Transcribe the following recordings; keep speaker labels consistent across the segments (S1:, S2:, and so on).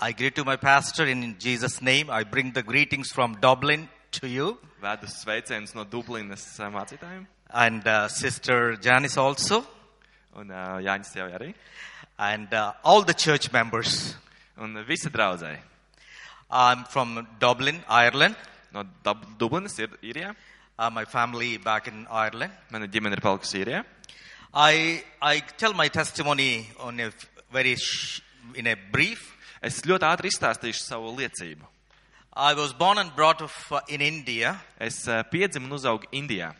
S1: I greet to my pastor in Jesus' name. I bring the greetings from Dublin to you
S2: Vēdu sveicienus no Dublinas ā, mācītājiem,
S1: and uh, Sister Janice also,
S2: un ā, Jāņas tev arī,
S1: and uh, all the church members.
S2: un visi draudzēji.
S1: I'm from Dublin, Ireland.
S2: No Dub Dublinas ir īrijā.
S1: Uh, my family back in Ireland.
S2: Mana ģimene ir palikusi īrijā.
S1: I, I tell my testimony on a f- very sh- in a brief.
S2: Es ļoti ātri izstāstīšu savu liecību.
S1: I was born and brought up uh, in India,
S2: Es ā, piedzimu un uzaugu Indijā.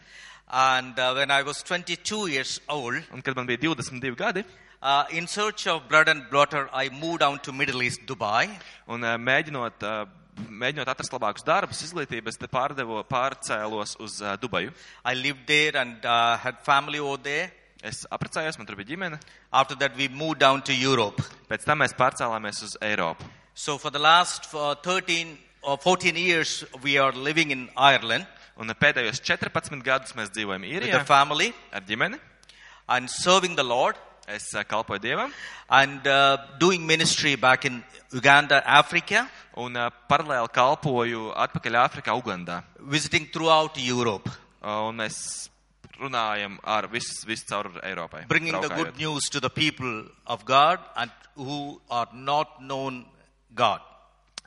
S1: and uh, when I was 22 years old,
S2: Un, kad man bija 22 gadi,
S1: uh, in search of blood and water, I moved down to Middle East, Dubai.
S2: un ā, mēģinot, ā, mēģinot atrast labākus darbus, izglītību, es te pārdevo, pārcēlos uz ā, Dubaju.
S1: I lived there and uh, had family over there.
S2: Es apprecējos, man tur bija ģimene.
S1: After that, we moved down to Europe.
S2: Pēc tam mēs pārcēlāmies uz Eiropu.
S1: So for the last uh, 13 or 14 years, we are living in Ireland
S2: Un pēdējos 14 gadus mēs dzīvojam
S1: with
S2: īrijā
S1: the family
S2: ar ģimeni.
S1: and serving the Lord
S2: Es ā, kalpoju Dievam
S1: and uh, doing ministry back in Uganda, Africa,
S2: un ā, paralēli kalpoju atpakaļ Āfrikā, Ugandā. Eh,
S1: visiting throughout Europe,
S2: Un mēs runājam ar visu, visu caur Eiropai.
S1: bringing the
S2: braukājot.
S1: good news to the people of God and who are not known God.
S2: Ā,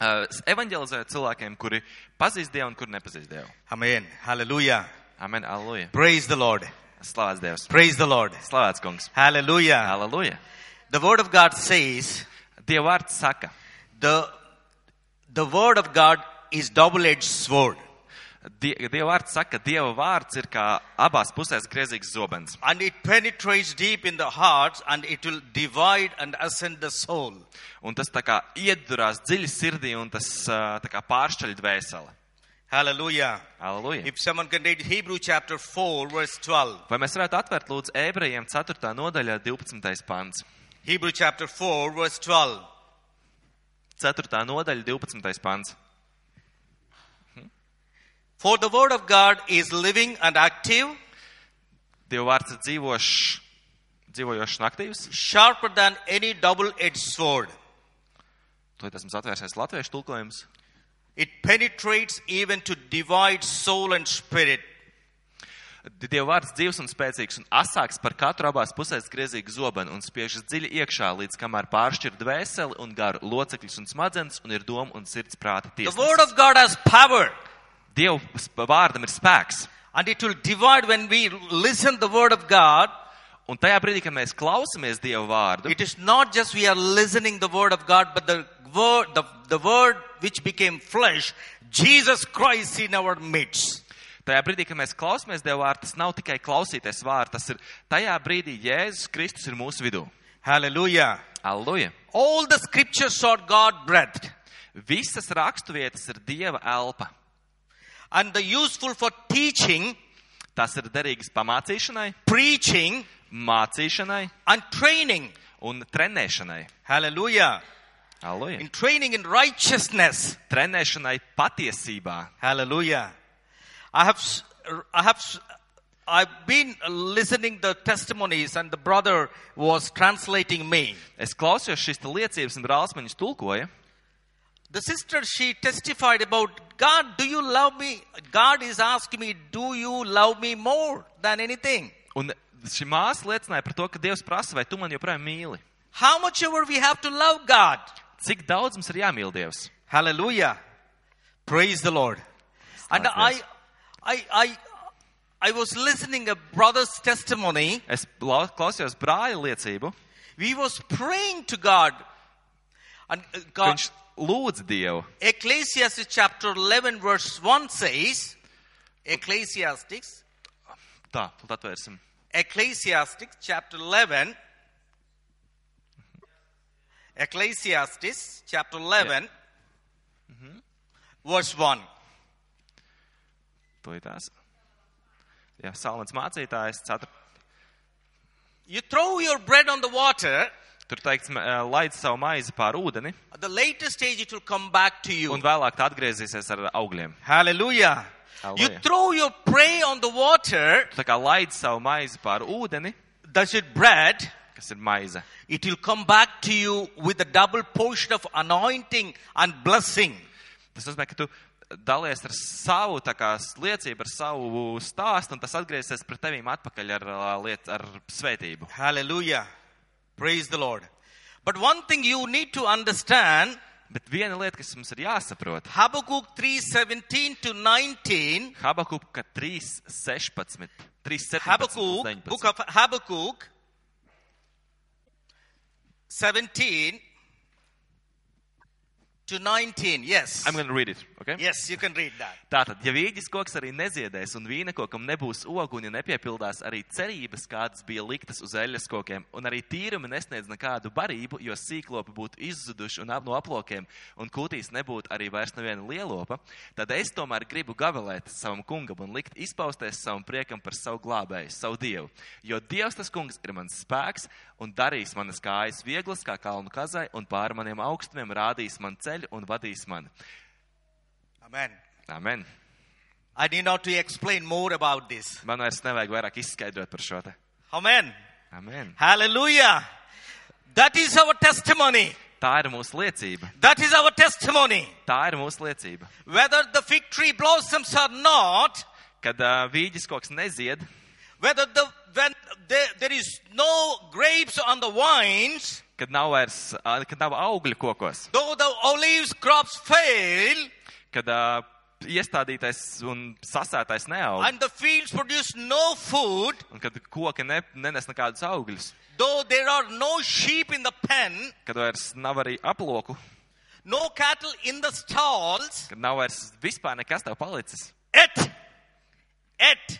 S2: Eh, Es evanģelizēju cilvēkiem, kuri pazīst Dievu un kuri nepazīst Dievu.
S1: Amen. Hallelujah.
S2: Amen, aleluja.
S1: Praise the Lord.
S2: Slavēts Dievs.
S1: Praise the Lord.
S2: Slavēts kungs.
S1: Hallelujah.
S2: Aleluja.
S1: The word of God says,
S2: Dieva vārds saka,
S1: the the word of god is double edged sword
S2: die, Dieva vārds saka, Dieva vārds ir kā abās pusēs griezīgs zobens.
S1: and it penetrates deep in the hearts and it will divide and ascend the soul
S2: Un tas tā kā iedurās dziļi sirdī un tas ā, tā kā pāršķaļ dvēseli.
S1: hallelujah
S2: Aleluja.
S1: if someone can read hebrew chapter 4 verse 12
S2: Vai mēs varētu atvērt lūdzu ebrejiem 4. nodaļā 12. pants?
S1: hebrew chapter 4 verse 12
S2: 4. nodaļa 12. pants.
S1: for the word of god is living and active
S2: Dieva vārds ir dzīvošs, dzīvojošs un aktīvs.
S1: sharper than any double edged sword
S2: Tad mums atvērsies latviešu tulkojums.
S1: it penetrates even to divide soul and spirit
S2: Dieva vārds dzīves un spēcīgs un asāks par katru abās pusēs griezīgu zobenu un spiežas dziļi iekšā, līdz kamēr pāršķir dvēseli un garu locekļus un smadzenes un ir doma un sirds prāta
S1: the word
S2: tiesa.
S1: of god has power
S2: Dieva sp- vārdam ir spēks.
S1: And it will divide when we listen the word of God.
S2: Un tajā brīdī, kad mēs klausamies Dieva vārdu,
S1: It is not just we are listening the word of God, but the word, the, the word which became flesh, Jesus Christ in our midst.
S2: tajā brīdī, kad mēs klausamies Dieva vārdu, tas nav tikai klausīties vārdu, tas ir tajā brīdī Jēzus Kristus ir mūsu vidū.
S1: Hallelujah.
S2: Alluja!
S1: All the scriptures are God breathed
S2: Visas raksturvietas ir Dieva elpa.
S1: and they're useful for teaching,
S2: Tas ir derīgs pamācīšanai,
S1: preaching,
S2: mācīšanai
S1: and training.
S2: un trenēšanai.
S1: Hallelujah.
S2: Alluja!
S1: In training in righteousness.
S2: trenēšanai patiesībā.
S1: Hallelujah. I have, s- I have, s- I've been listening the testimonies, and the brother was translating me.
S2: Es klausījos šīs te liecības, un brālis man viņas tulkoja.
S1: The sister she testified about God. Do you love me? God is asking me, do you love me more than anything?
S2: Un šī māsa liecināja par to, ka Dievs prasa, vai tu mani joprojām mīli.
S1: How much ever we have to love God.
S2: Cik daudz mums ir jāmīl Dievs?
S1: Hallelujah. Praise the Lord. And I,
S2: Yes.
S1: I, I, I was listening a brother's testimony.
S2: Es lau- klausījos brāļa liecību,
S1: We was praying to God. And uh,
S2: ka
S1: God,
S2: viņš lūdz Dievu.
S1: Ecclesiastes chapter 11 verse 1 says, Ecclesiastics,
S2: Tā, tad atvērsim.
S1: Ecclesiastics chapter 11, Ecclesiastes chapter 11 Mm-hmm. verse 1.
S2: Tūlītās. Jā, Salmans mācītājs. Cetur...
S1: You throw your bread on the water,
S2: Tur teikts, m- eh, laid savu maizi pāri ūdeni,
S1: at the later stage it will come back to you.
S2: un vēlāk tā atgriezīsies ar augļiem.
S1: Hallelujah. You
S2: Hallelujah.
S1: throw your prey on the water,
S2: Tu tā kā laid savu maizi pāri ūdeni,
S1: does it bread?
S2: kas kas ir maize.
S1: It will come back to you with a double portion of anointing and blessing.
S2: Tas nozīmē, ka tu dalies ar savu tā kā, s- liecību, ar savu stāstu, un tas atgriezīsies pret tevīm atpakaļ ar, ā, liet, ar svētību.
S1: Hallelujah. Praise the Lord. But one thing you need to understand
S2: Bet viena lieta, kas mums ir jāsaprot,
S1: Habakkuk 3:17 to 19
S2: Habakuka 3, 16, 3, 17,
S1: Habakkuk book of Habakkuk 17 to 19 yes
S2: I'm going to read it. Okay?
S1: yes you can read that
S2: Tātad, ja vīģis koks arī neziedēs un vīna kokam nebūs ogu un ja nepiepildās arī cerības, kādas bija liktas uz eļļas kokiem, un arī tīrumi nesniedz nekādu barību, jo sīklopi būtu izzuduši un ap no aplokiem, un kūtīs nebūtu arī vairs neviena lielopa, tad es tomēr gribu gavelēt savam kungam un likt izpausties savam priekam par savu glābēju, savu dievu. Jo dievs tas kungs ir mans spēks un darīs manas kājas vieglas kā kalnu kazai un pāri maniem augstumiem rādīs man ceļu un vadīs mani.
S1: amen
S2: Amen!
S1: i need not to explain more about this
S2: Man vairs nevajag vairāk izskaidrot par šo te.
S1: amen
S2: Amen.
S1: hallelujah that is our testimony
S2: Tā ir mūsu liecība.
S1: that is our testimony
S2: Tā ir mūsu liecība.
S1: whether the fig tree blossoms or not
S2: Kad uh, vīģis koks nezied,
S1: whether the when there, there is no grapes on the vines
S2: kad nav vairs, uh, kad nav augļu kokos,
S1: though the olives crops fail
S2: kad uh, iestādītais un sasētais neaug,
S1: and the fields produce no food
S2: un kad koki ne, nenes nekādus augļus,
S1: though there are no sheep in the pen
S2: kad vairs nav arī aploku,
S1: no cattle in the stalls
S2: kad nav vairs vispār nekas tev palicis.
S1: yet yet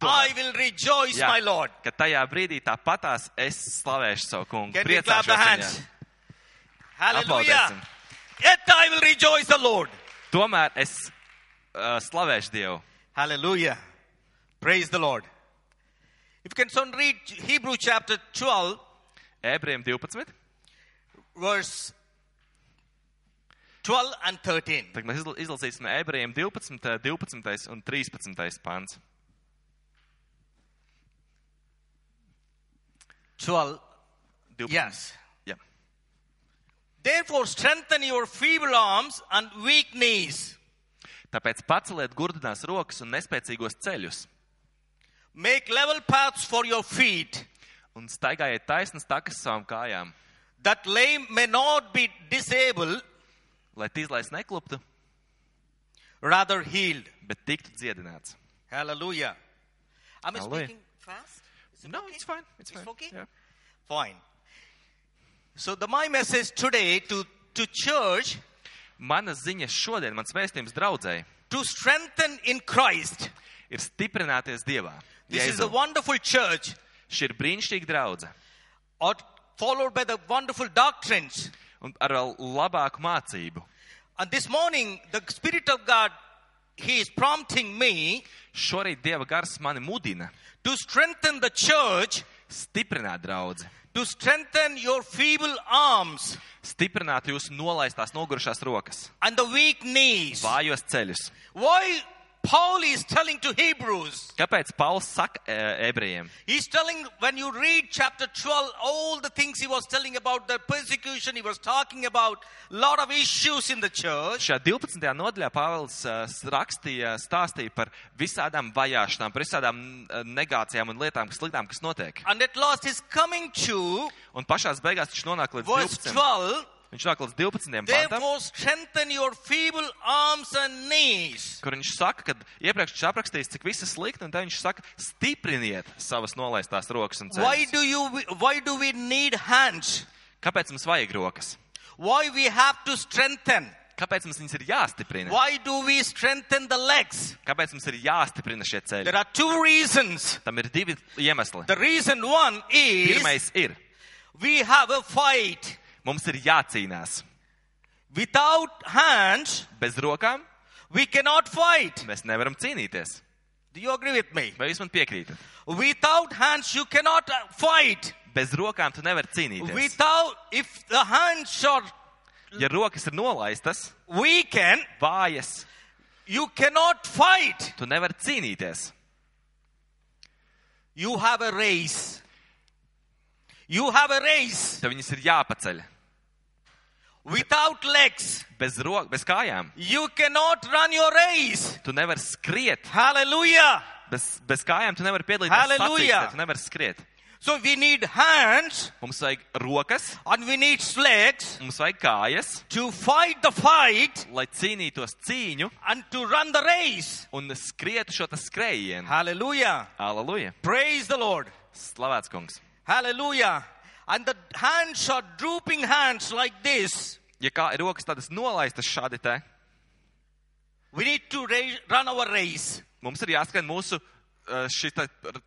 S2: Tomēr.
S1: i will rejoice
S2: Jā,
S1: my lord
S2: Kad tajā brīdī tāpatās es slavēšu savu kungu.
S1: can we clap
S2: Priecāšos
S1: the
S2: viņā.
S1: hands hallelujah
S2: Aplaudēsim.
S1: yet i will rejoice the lord
S2: Tomēr es uh, slavēšu Dievu.
S1: Hallelujah. Praise the Lord. If you can soon read Hebrew chapter 12,
S2: Ebrejiem 12.
S1: verse 12 and 13.
S2: Tagad mēs izla- izlasīsim ebrejiem 12, 12 un 13 pāns.
S1: 12.
S2: 12.
S1: Yes.
S2: Jā.
S1: Therefore, strengthen your feeble arms and weak knees.
S2: Tāpēc paceliet gurdinās rokas un nespēcīgos ceļus,
S1: Make level paths for your feet,
S2: un staigājiet taisnas takas savām kājām,
S1: that lame may not be disabled,
S2: lai tīzlais nekluptu,
S1: rather healed.
S2: bet tiktu dziedināts.
S1: Hallelujah. Am I
S2: Hallelujah.
S1: speaking fast? Is it
S2: No,
S1: okay?
S2: it's fine. It's
S1: It's
S2: fine.
S1: okay?
S2: Yeah.
S1: Fine. So the my message today to to church
S2: Mana ziņa šodien, mans vēstījums draudzēji,
S1: to strengthen in Christ.
S2: ir stiprināties Dievā.
S1: This is a
S2: Jēzu.
S1: wonderful church,
S2: Šī ir brīnišķīga draudze,
S1: or followed by the wonderful doctrines.
S2: un ar vēl labāku mācību.
S1: And this morning, the Spirit of God, He is prompting me
S2: Šorīt Dieva gars mani mudina
S1: to strengthen the church,
S2: stiprināt draudzi,
S1: to strengthen your feeble arms
S2: stiprināt jūsu nolaistās nogurušās rokas.
S1: and the weak knees.
S2: vājos ceļus.
S1: Why Paul is telling to Hebrews,
S2: Kāpēc Pāvils saka e, ebrejiem?
S1: He's telling, when you read chapter 12, all the things he was telling about the persecution, he was talking about a lot of issues in the church.
S2: Šajā 12. nodaļā Pāvils e, s- rakstīja, stāstīja par visādām vajāšanām, par visādām e, negācijām un lietām, kas sliktām, kas notiek.
S1: And at last he's coming to
S2: Un pašās beigās viņš nonāk līdz
S1: verse
S2: 12.
S1: 12.
S2: Viņš nonāk līdz 12. pantam,
S1: Therefore, strengthen your feeble arms and knees.
S2: kur viņš saka, ka iepriekš viņš aprakstījis, cik viss ir slikti, un tad viņš saka, stipriniet savas nolaistās rokas un
S1: Why
S2: ceļus.
S1: do you why do we need hands?
S2: Kāpēc mums vajag rokas?
S1: Why we have to strengthen?
S2: Kāpēc mums viņas ir jāstiprina?
S1: Why do we strengthen the legs?
S2: Kāpēc mums ir jāstiprina šie ceļi?
S1: There are two reasons.
S2: Tam ir divi iemesli.
S1: The reason one is
S2: Pirmais ir.
S1: we have a fight.
S2: Mums ir jācīnās.
S1: Without hands,
S2: Bez rokām
S1: we cannot fight.
S2: mēs nevaram cīnīties.
S1: Do you agree with me?
S2: Vai jūs man piekrītat?
S1: Without hands, you cannot uh, fight.
S2: Bez rokām tu nevari cīnīties.
S1: Without, if the hands are
S2: Ja rokas ir nolaistas,
S1: weakened,
S2: vājas,
S1: you cannot fight.
S2: tu nevari cīnīties.
S1: You have a race. You have a race
S2: Tev viņas ir jāpaceļ.
S1: without legs.
S2: Bez, ro, bez kājām.
S1: You cannot run your race.
S2: Tu nevari skriet.
S1: Hallelujah.
S2: Bez, bez kājām tu nevari piedalīties.
S1: Halleluja!
S2: sacīkstē, Tu nevari skriet.
S1: So we need hands
S2: Mums vajag rokas,
S1: and we need legs
S2: mums vajag kājas,
S1: to fight the fight
S2: lai cīnītos cīņu
S1: and to run the race.
S2: un skrietu šo te skrējienu.
S1: Hallelujah.
S2: Aleluja!
S1: Praise the Lord.
S2: Slavēts kungs!
S1: Hallelujah. And the hands are drooping hands like this.
S2: Ja kā ir rokas tādas nolaistas šādi te,
S1: We need to ra- run our race.
S2: mums ir jāskrien mūsu eh, šita r-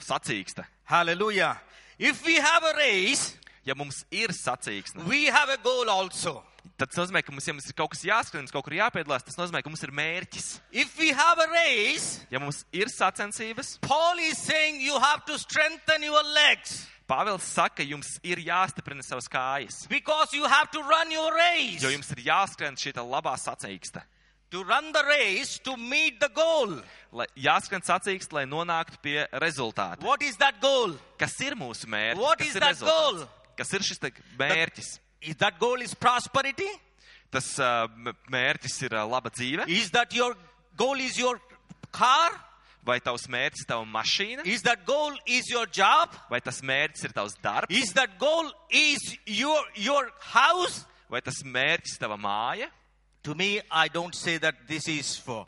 S2: sacīkste.
S1: Hallelujah. If we have a race,
S2: Ja mums ir sacīksne,
S1: we have a goal also.
S2: tad tas nozīmē, ka mums, ja mums ir kaut kas jāskrien, mums kaut kur jāpiedalās, tas nozīmē, ka mums ir mērķis.
S1: If we have a race,
S2: Ja mums ir sacensības,
S1: Paul is saying you have to strengthen your legs
S2: Pāvils saka, jums ir jāstiprina savas kājas,
S1: because you have to run your race.
S2: jo jums ir jāskrien šita labā sacīkste.
S1: to run the race to meet the goal.
S2: Lai, jāskrien sacīkst, lai nonāktu pie rezultāta.
S1: What is that goal?
S2: Kas ir mūsu mērķis?
S1: What
S2: Kas
S1: is
S2: ir
S1: that
S2: rezultāts?
S1: goal?
S2: Kas ir šis te mērķis?
S1: Is that goal is prosperity?
S2: Tas uh, m- mērķis ir uh, laba dzīve,
S1: Is that your goal is your car?
S2: vai tavs mērķis ir tava mašīna,
S1: Is that goal is your job?
S2: vai tas mērķis ir tavs darbs,
S1: Is that goal is your your house?
S2: vai tas mērķis ir tava māja?
S1: To me, I don't say that this is for.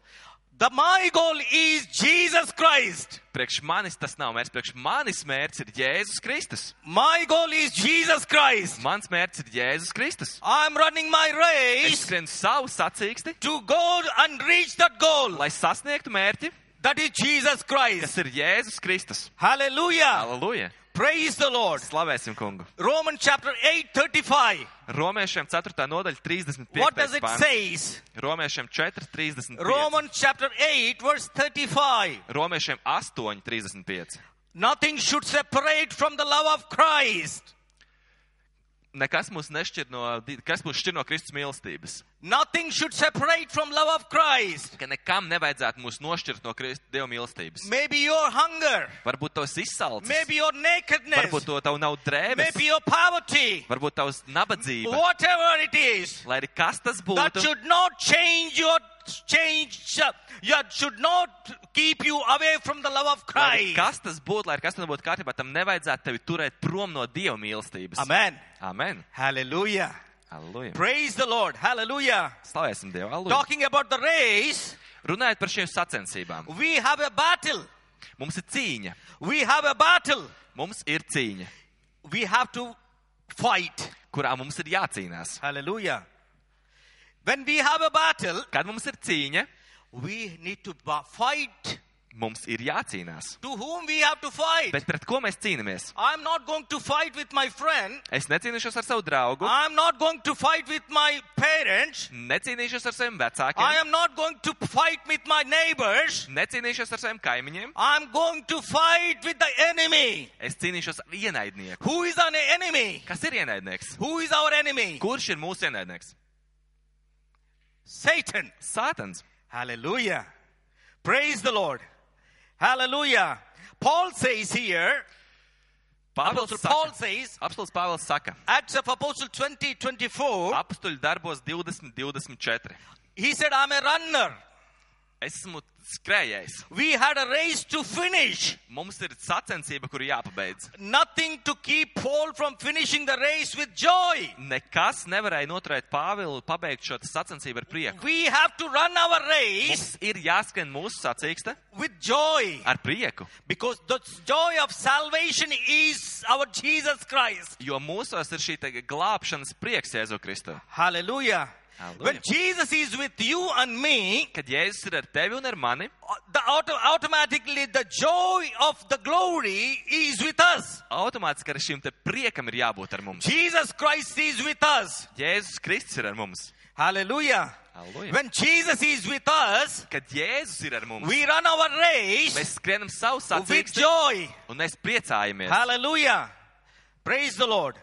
S1: The my goal is Jesus Christ.
S2: Priekš manis tas nav mērķis, priekš manis mērķis ir Jēzus Kristus.
S1: My goal is Jesus Christ.
S2: Mans mērķis ir Jēzus Kristus.
S1: I'm running my
S2: Es
S1: race
S2: skrienu savu sacīksti,
S1: to go and reach that goal.
S2: lai sasniegtu mērķi,
S1: That is Jesus
S2: kas
S1: Christ.
S2: ir Jēzus Kristus.
S1: Hallelujah.
S2: Aleluja!
S1: Praise the Lord.
S2: Slavēsim kungu!
S1: Romans chapter 8 35.
S2: Romiešiem 4. nodaļa 35.
S1: What does it
S2: pāns.
S1: says?
S2: Romiešiem 4, 35.
S1: Romans chapter 8 verse 35.
S2: Romiešiem 8, 35.
S1: Nothing should separate from the love of Christ.
S2: Nekas mūs nešķir no, kas mūs šķir no Kristus mīlestības.
S1: Nothing should separate from love of Christ.
S2: Ka nekam nevajadzētu mūs nošķirt no Kristus Dieva mīlestības.
S1: Maybe your hunger,
S2: Varbūt tavs izsalcis,
S1: maybe your nakedness,
S2: varbūt to tev nav drēbes,
S1: maybe your poverty,
S2: varbūt tavs nabadzība.
S1: whatever it is,
S2: Lai arī kas tas
S1: that
S2: būtu,
S1: should not change your change. You should not keep you away from the love of
S2: lai arī
S1: Christ.
S2: kas tas būtu, lai arī kas tam būtu kārtībā, tam nevajadzētu tevi turēt prom no Dieva mīlestības.
S1: Amen.
S2: Amen.
S1: Hallelujah.
S2: Alleluja.
S1: Praise the Lord. Hallelujah.
S2: Slavēsim Dievu. Alleluja.
S1: Talking about the race,
S2: Runājot par šīm sacensībām,
S1: we have a battle.
S2: mums ir cīņa.
S1: We have a battle.
S2: Mums ir cīņa,
S1: We have to fight.
S2: kurā mums ir jācīnās.
S1: Hallelujah. When we have a battle,
S2: Kad mums ir cīņa,
S1: we need to ba- fight.
S2: mums ir jācīnās.
S1: To whom we have to fight?
S2: Bet pret ko mēs cīnāmies?
S1: I'm not going to fight with my friend.
S2: Es necīnīšos ar savu draugu,
S1: I'm not going to fight with my parents.
S2: necīnīšos ar saviem
S1: I
S2: vecākiem,
S1: am not going to fight with my neighbors.
S2: necīnīšos ar saviem kaimiņiem.
S1: I'm going to fight with the enemy.
S2: Es cīnīšos ar ienaidnieku.
S1: Who is an enemy?
S2: Kas ir ienaidnieks?
S1: Who is our enemy?
S2: Kurš ir mūsu ienaidnieks?
S1: Satan.
S2: Sātans.
S1: Hallelujah. Praise the Lord. Hallelujah. Paul says here, Apostle
S2: Pāvils
S1: Paul
S2: saka-
S1: says,
S2: Apostils Pāvils saka,
S1: Acts of Apostle 20 24,
S2: apstuļu darbos 20, 24.
S1: he said, I'm a runner.
S2: Es esmu skrējējis.
S1: We had a race to finish.
S2: Mums ir sacensība, kuru jāpabeidz.
S1: Nothing to keep Paul from finishing the race with joy.
S2: Nekas nevarēja noturēt Pāvilu pabeigt šo sacensību ar prieku.
S1: We have to run our race
S2: Mums ir jāskrien mūsu sacīkste
S1: with joy
S2: ar prieku,
S1: because the joy of salvation is our Jesus Christ.
S2: jo mūsos ir šī te glābšanas prieks Jēzu Kristu.
S1: Hallelujah.
S2: Hallelujah.
S1: When Jesus is with you and me,
S2: Kad Jēzus ir ar tevi un ar mani,
S1: uh, the auto- automatically the joy of the glory is with us.
S2: automātiski ar šim te priekam ir jābūt ar mums.
S1: Jesus Christ is with us.
S2: Jēzus Kristus ir ar mums.
S1: Hallelujah.
S2: Hallelujah.
S1: When Jesus is with us,
S2: Kad Jēzus ir ar mums,
S1: we run our race
S2: mēs skrienam savu
S1: with
S2: sacīksti
S1: joy.
S2: un mēs priecājamies.
S1: Hallelujah. Praise the Lord.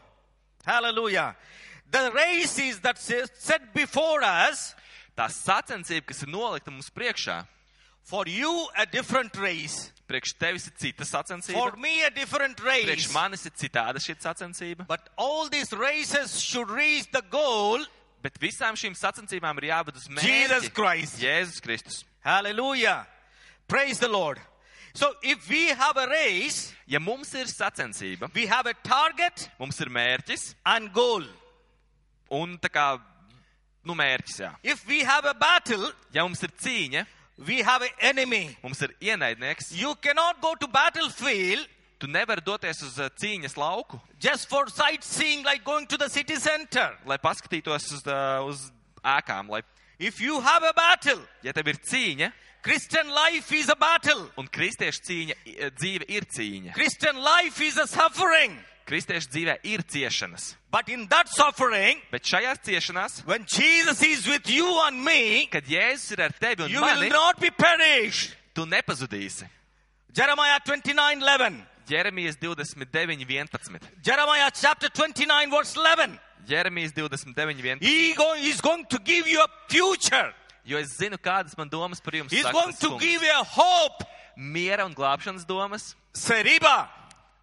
S1: Hallelujah. The race is that is set before us
S2: Tā sacensība, kas ir nolikta mums priekšā,
S1: for you a different race.
S2: Priekš tevis ir cita
S1: For
S2: sacensība.
S1: me, a different
S2: Priekš
S1: race.
S2: manis ir citāda šī sacensība.
S1: But all these races should reach the goal
S2: Bet visām šīm sacensībām ir jāved uz
S1: Jesus
S2: mērķi.
S1: Christ.
S2: Jēzus Kristus.
S1: Hallelujah. Praise the Lord. So if we have a race,
S2: Ja mums ir sacensība,
S1: we have a target
S2: mums ir mērķis
S1: and goal.
S2: un tā kā, nu, mērķis, jā.
S1: If we have a battle,
S2: Ja mums ir cīņa,
S1: we have an enemy.
S2: mums ir ienaidnieks,
S1: You cannot go to battlefield
S2: tu nevari doties uz eh, cīņas lauku,
S1: just for sightseeing like going to the city center.
S2: lai paskatītos uz, eh, uz ēkām. Lai,
S1: If you have a battle,
S2: ja tev ir cīņa,
S1: Christian life is a battle.
S2: un kristiešu cīņa, eh, dzīve ir cīņa,
S1: Christian life is a suffering.
S2: kristiešu dzīvē ir ciešanas,
S1: But in that suffering,
S2: bet šajās ciešanās,
S1: when Jesus is with you and me,
S2: kad Jēzus ir ar tevi un
S1: you
S2: mani,
S1: will not be perished.
S2: tu nepazudīsi.
S1: Jeremiah 29 11.
S2: Jeremijas 29, 11.
S1: Jeremiah chapter 29 verse 11.
S2: Jeremijas 29, 11.
S1: He go, is going to give you a future.
S2: Jo es zinu, kādas man domas par jums
S1: He's
S2: saka
S1: going
S2: tas
S1: to
S2: kungs.
S1: give you a hope.
S2: Miera un glābšanas domas,
S1: Seriba.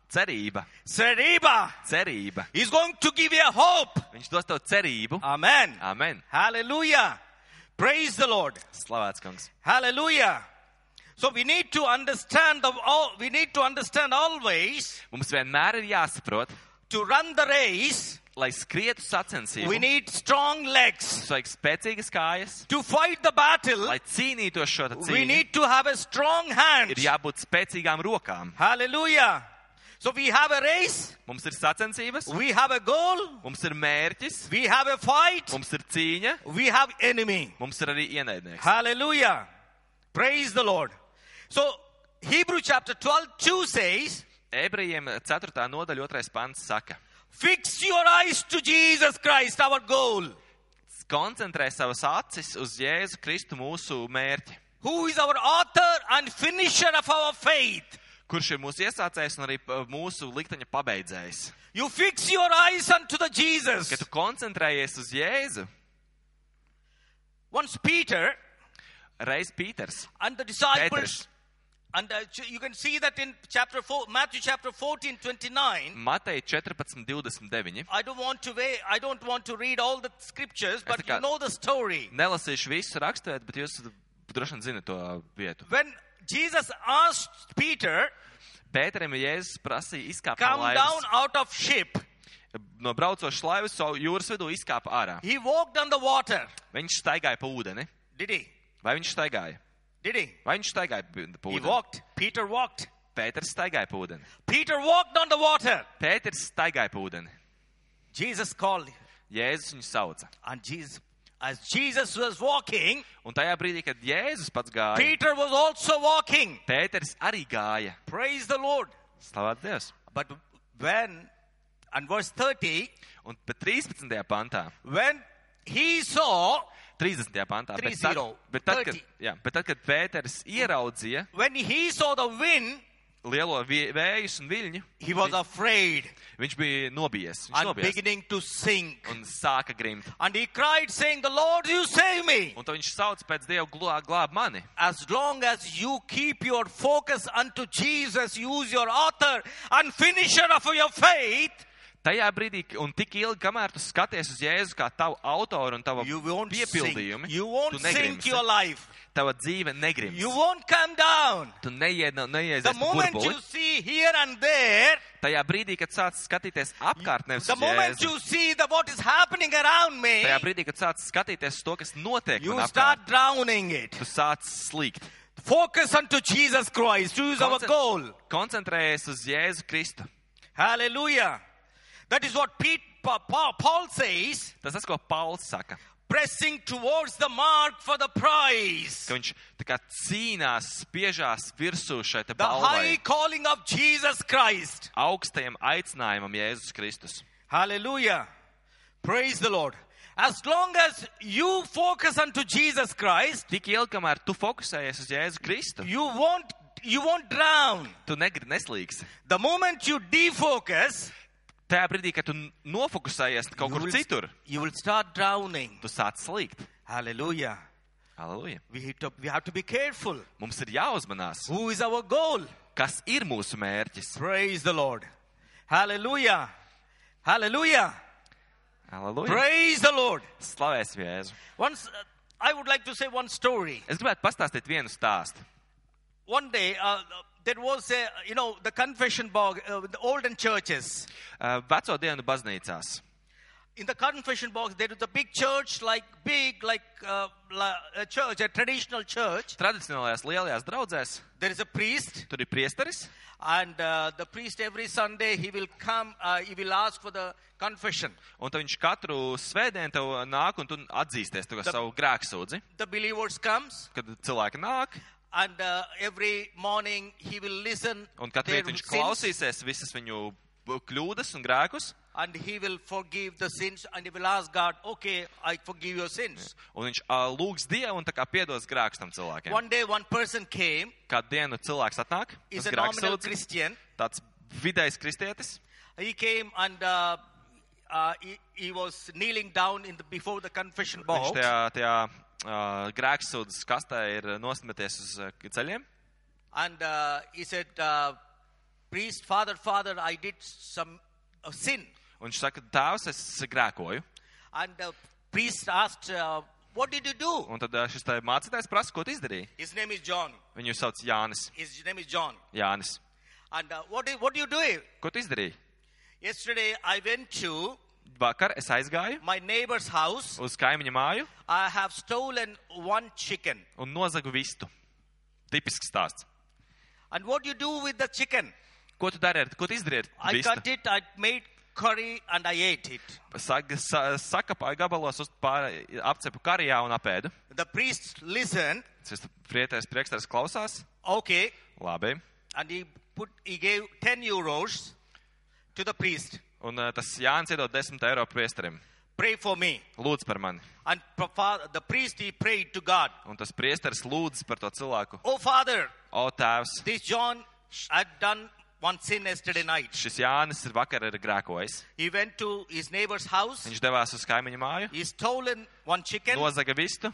S2: cerība,
S1: Seriba.
S2: cerība.
S1: He's going to give you a hope.
S2: Viņš dos tev cerību.
S1: Amen.
S2: Amen.
S1: Hallelujah. Praise the Lord.
S2: Slavēts kungs.
S1: Hallelujah. So we need to understand the all we need to understand always
S2: Mums vienmēr ir jāsaprot,
S1: to run the race,
S2: lai skrietu sacensību.
S1: we need strong legs.
S2: Mums vajag spēcīgas kājas,
S1: To fight the battle,
S2: lai cīnītos šo te
S1: we
S2: cīņu.
S1: need to have a strong hand.
S2: Ir jābūt spēcīgām rokām.
S1: Hallelujah. So we have a race,
S2: Mums ir sacensības,
S1: we have a goal,
S2: mums ir mērķis,
S1: we have a fight,
S2: mums ir cīņa,
S1: we have enemy.
S2: mums ir arī ienaidnieks.
S1: Hallelujah. Praise the Lord. So Hebrew chapter 12 2 says,
S2: Ebrejiem 4. nodaļa 2. pants saka:
S1: Fix your eyes to Jesus Christ, our goal.
S2: Koncentrē savas acis uz Jēzu Kristu mūsu mērķi,
S1: who is our author and finisher of our faith.
S2: kurš ir mūsu iesācējs un arī p- mūsu likteņa pabeidzējs.
S1: You fix your eyes unto the Jesus.
S2: Kad tu koncentrējies uz Jēzu,
S1: Once Peter
S2: reiz Pīters,
S1: and the disciples,
S2: Pēters,
S1: and uh, you can see that in chapter four, Matthew chapter 14, 29.
S2: Matei 14, 29.
S1: I don't want to wait, I don't want to read all the scriptures, but
S2: tikai-
S1: you know the story.
S2: Nelasīšu visu raksturēt, bet jūs droši vien zinat to vietu.
S1: When Jesus asked Peter,
S2: Pēterim Jēzus prasīja izkāpt no,
S1: "Come down
S2: laivas,
S1: out of ship,"
S2: no braucošas laivas, savu jūras vidū izkāpa ārā.
S1: he walked on the water.
S2: Viņš staigāja pa ūdeni.
S1: Did he?
S2: Vai viņš staigāja?
S1: Did he?
S2: Vai viņš staigāja pa pa
S1: He
S2: ūdeni?
S1: walked. Peter walked.
S2: Pēters staigāja pa ūdeni.
S1: Peter walked on the water.
S2: Pēters staigāja pa ūdeni.
S1: Jesus called
S2: Jēzus viņu sauca.
S1: And Jesus, as Jesus was walking,
S2: Un tajā brīdī, kad Jēzus pats gāja,
S1: Peter was also walking.
S2: Pēters arī gāja.
S1: Praise the Lord.
S2: Slavēt Dievs!
S1: But when, and verse 30,
S2: Un pat 13. pantā,
S1: when he saw,
S2: 30. pantā, bet tad,
S1: 30,
S2: bet tad, kad,
S1: 30.
S2: jā, bet tad, kad Pēters ieraudzīja
S1: when he saw the wind,
S2: lielo vi- vējus un viļņu,
S1: he was
S2: vi-
S1: afraid
S2: viņš bija nobijies. Viņš
S1: and
S2: nobijies
S1: beginning to sink.
S2: un sāka grimt.
S1: And he cried, saying, The Lord, you save me.
S2: Un tad viņš sauc pēc Dieva glāb, glāb mani.
S1: As long as you keep your focus unto Jesus, use your author and finisher of your faith,
S2: Tajā brīdī, un tik ilgi, kamēr tu skaties uz Jēzu kā tavu autoru un tavu
S1: you won't sink.
S2: piepildījumu,
S1: You
S2: tu
S1: won't sink
S2: negrimsi.
S1: your life.
S2: Tava dzīve negrims.
S1: You won't come down.
S2: Tu neied, nu, neies
S1: The moment
S2: burbuli.
S1: you see here and there,
S2: Tajā brīdī, kad sāc skatīties apkārt, nevis
S1: the
S2: uz
S1: moment
S2: Jēzu.
S1: you see the what is happening around me,
S2: Tajā brīdī, kad sāc skatīties uz to, kas notiek,
S1: you
S2: man
S1: start
S2: apkārt,
S1: drowning it.
S2: tu sāc slīgt.
S1: Focus unto Jesus Christ, who is our
S2: Koncen-
S1: goal.
S2: Koncentrējies uz Jēzu Kristu.
S1: Hallelujah. That is what Pete, Pa- Pa- Paul says,
S2: Tas tas, ko Pauls saka,
S1: pressing towards the mark for the prize.
S2: ka viņš tā kā cīnās, spiežās virsū šai te
S1: The high
S2: balvai,
S1: calling of Jesus Christ.
S2: augstajam aicinājumam Jēzus Kristus.
S1: Hallelujah. Praise the Lord. As long as you focus unto Jesus Christ,
S2: Tik ilgi, kamēr tu fokusējies uz Jēzu Kristu,
S1: you won't you won't drown
S2: tu negri neslīgsi.
S1: the moment you defocus
S2: Tajā brīdī, kad tu n- nofokusējies kaut
S1: you
S2: kur
S1: will,
S2: citur,
S1: you will start drowning
S2: tu sāc slīgt.
S1: hallelujah
S2: Halleluja!
S1: We have, to, we have to be careful.
S2: Mums ir jāuzmanās,
S1: Who is our goal?
S2: kas ir mūsu mērķis.
S1: Praise the Lord. Hallelujah. Hallelujah.
S2: Halleluja!
S1: Praise the Lord.
S2: Slavēsim Jēzu!
S1: Once, uh, I would like to say one story.
S2: Es gribētu pastāstīt vienu stāstu.
S1: One day, uh, there was a, you know, the confession box, uh, the olden churches.
S2: Uh, Veco dienu baznīcās.
S1: In the confession box, there is a big church, like big, like uh, la- a church, a traditional church.
S2: Tradicionālajās lielajās draudzēs
S1: There is a priest,
S2: tur ir priesteris,
S1: and uh, the priest every Sunday he will come, uh, he will ask for the confession.
S2: un tad viņš katru svētdienu tev nāk un tu atzīsties to
S1: Tad-
S2: savu grēksūdzi.
S1: The believers comes,
S2: Kad cilvēki nāk,
S1: and uh, every morning he will listen
S2: un katru
S1: their
S2: rītu viņš
S1: sins,
S2: klausīsies visas viņu kļūdas un grēkus,
S1: and he will forgive the sins, and he will ask God, "Okay, I forgive your sins."
S2: un viņš ā, lūgs Dievu un tā kā piedos grēkus tam cilvēkiem.
S1: One day, one person came.
S2: Kādu dienu cilvēks atnāk,
S1: He's
S2: tas
S1: a nominal
S2: grēksūdzis,
S1: Christian.
S2: tāds vidējs kristietis,
S1: He came and uh, uh, he, he was kneeling down in the, before the confession
S2: viņš
S1: box.
S2: tajā, tajā ā, grēksūdzes kastē ir nostmeties uz ā, ceļiem.
S1: And uh, he said, uh, Priest, Father, Father, I did some uh, sin.
S2: Un viņš saka, tēvs, es grēkoju.
S1: And the priest asked, uh, What did you do?
S2: Un tad ā, šis tā mācītājs prasa, ko tu izdarīji.
S1: His name is John.
S2: Viņu sauc Jānis.
S1: His name is John.
S2: Jānis.
S1: And uh, what, do, what do you do?
S2: Ko tu izdarīji?
S1: Yesterday, I went to
S2: Vakar es aizgāju
S1: my neighbor's house.
S2: uz kaimiņu māju
S1: I have stolen one chicken.
S2: un nozagu vistu. Tipisks stāsts.
S1: And what do you do with the chicken?
S2: Ko tu dari? ar- Ko tu izdarīji? ar
S1: I cut
S2: vistu?
S1: it, I made curry, and I ate it.
S2: Sag- sa- Sakapāju gabalos, uz pār- apcepu karijā un apēdu.
S1: The priest listened,
S2: Tas prietējs priekšstars klausās.
S1: okay,
S2: Labi.
S1: and he put he gave 10 euros to the priest.
S2: Un eh, tas Jānis iedod 10 eiro priesterim.
S1: Pray for me.
S2: Lūdz par mani.
S1: And pro- fa- the priest he prayed to God.
S2: Un tas priesteris lūdz par to cilvēku.
S1: Oh Father,
S2: O, tēvs,
S1: this John had done one sin yesterday night.
S2: šis Jānis ir vakar ir grēkojis.
S1: He went to his neighbor's house.
S2: Viņš devās uz kaimiņu māju,
S1: He stolen one chicken,
S2: nozaga vistu.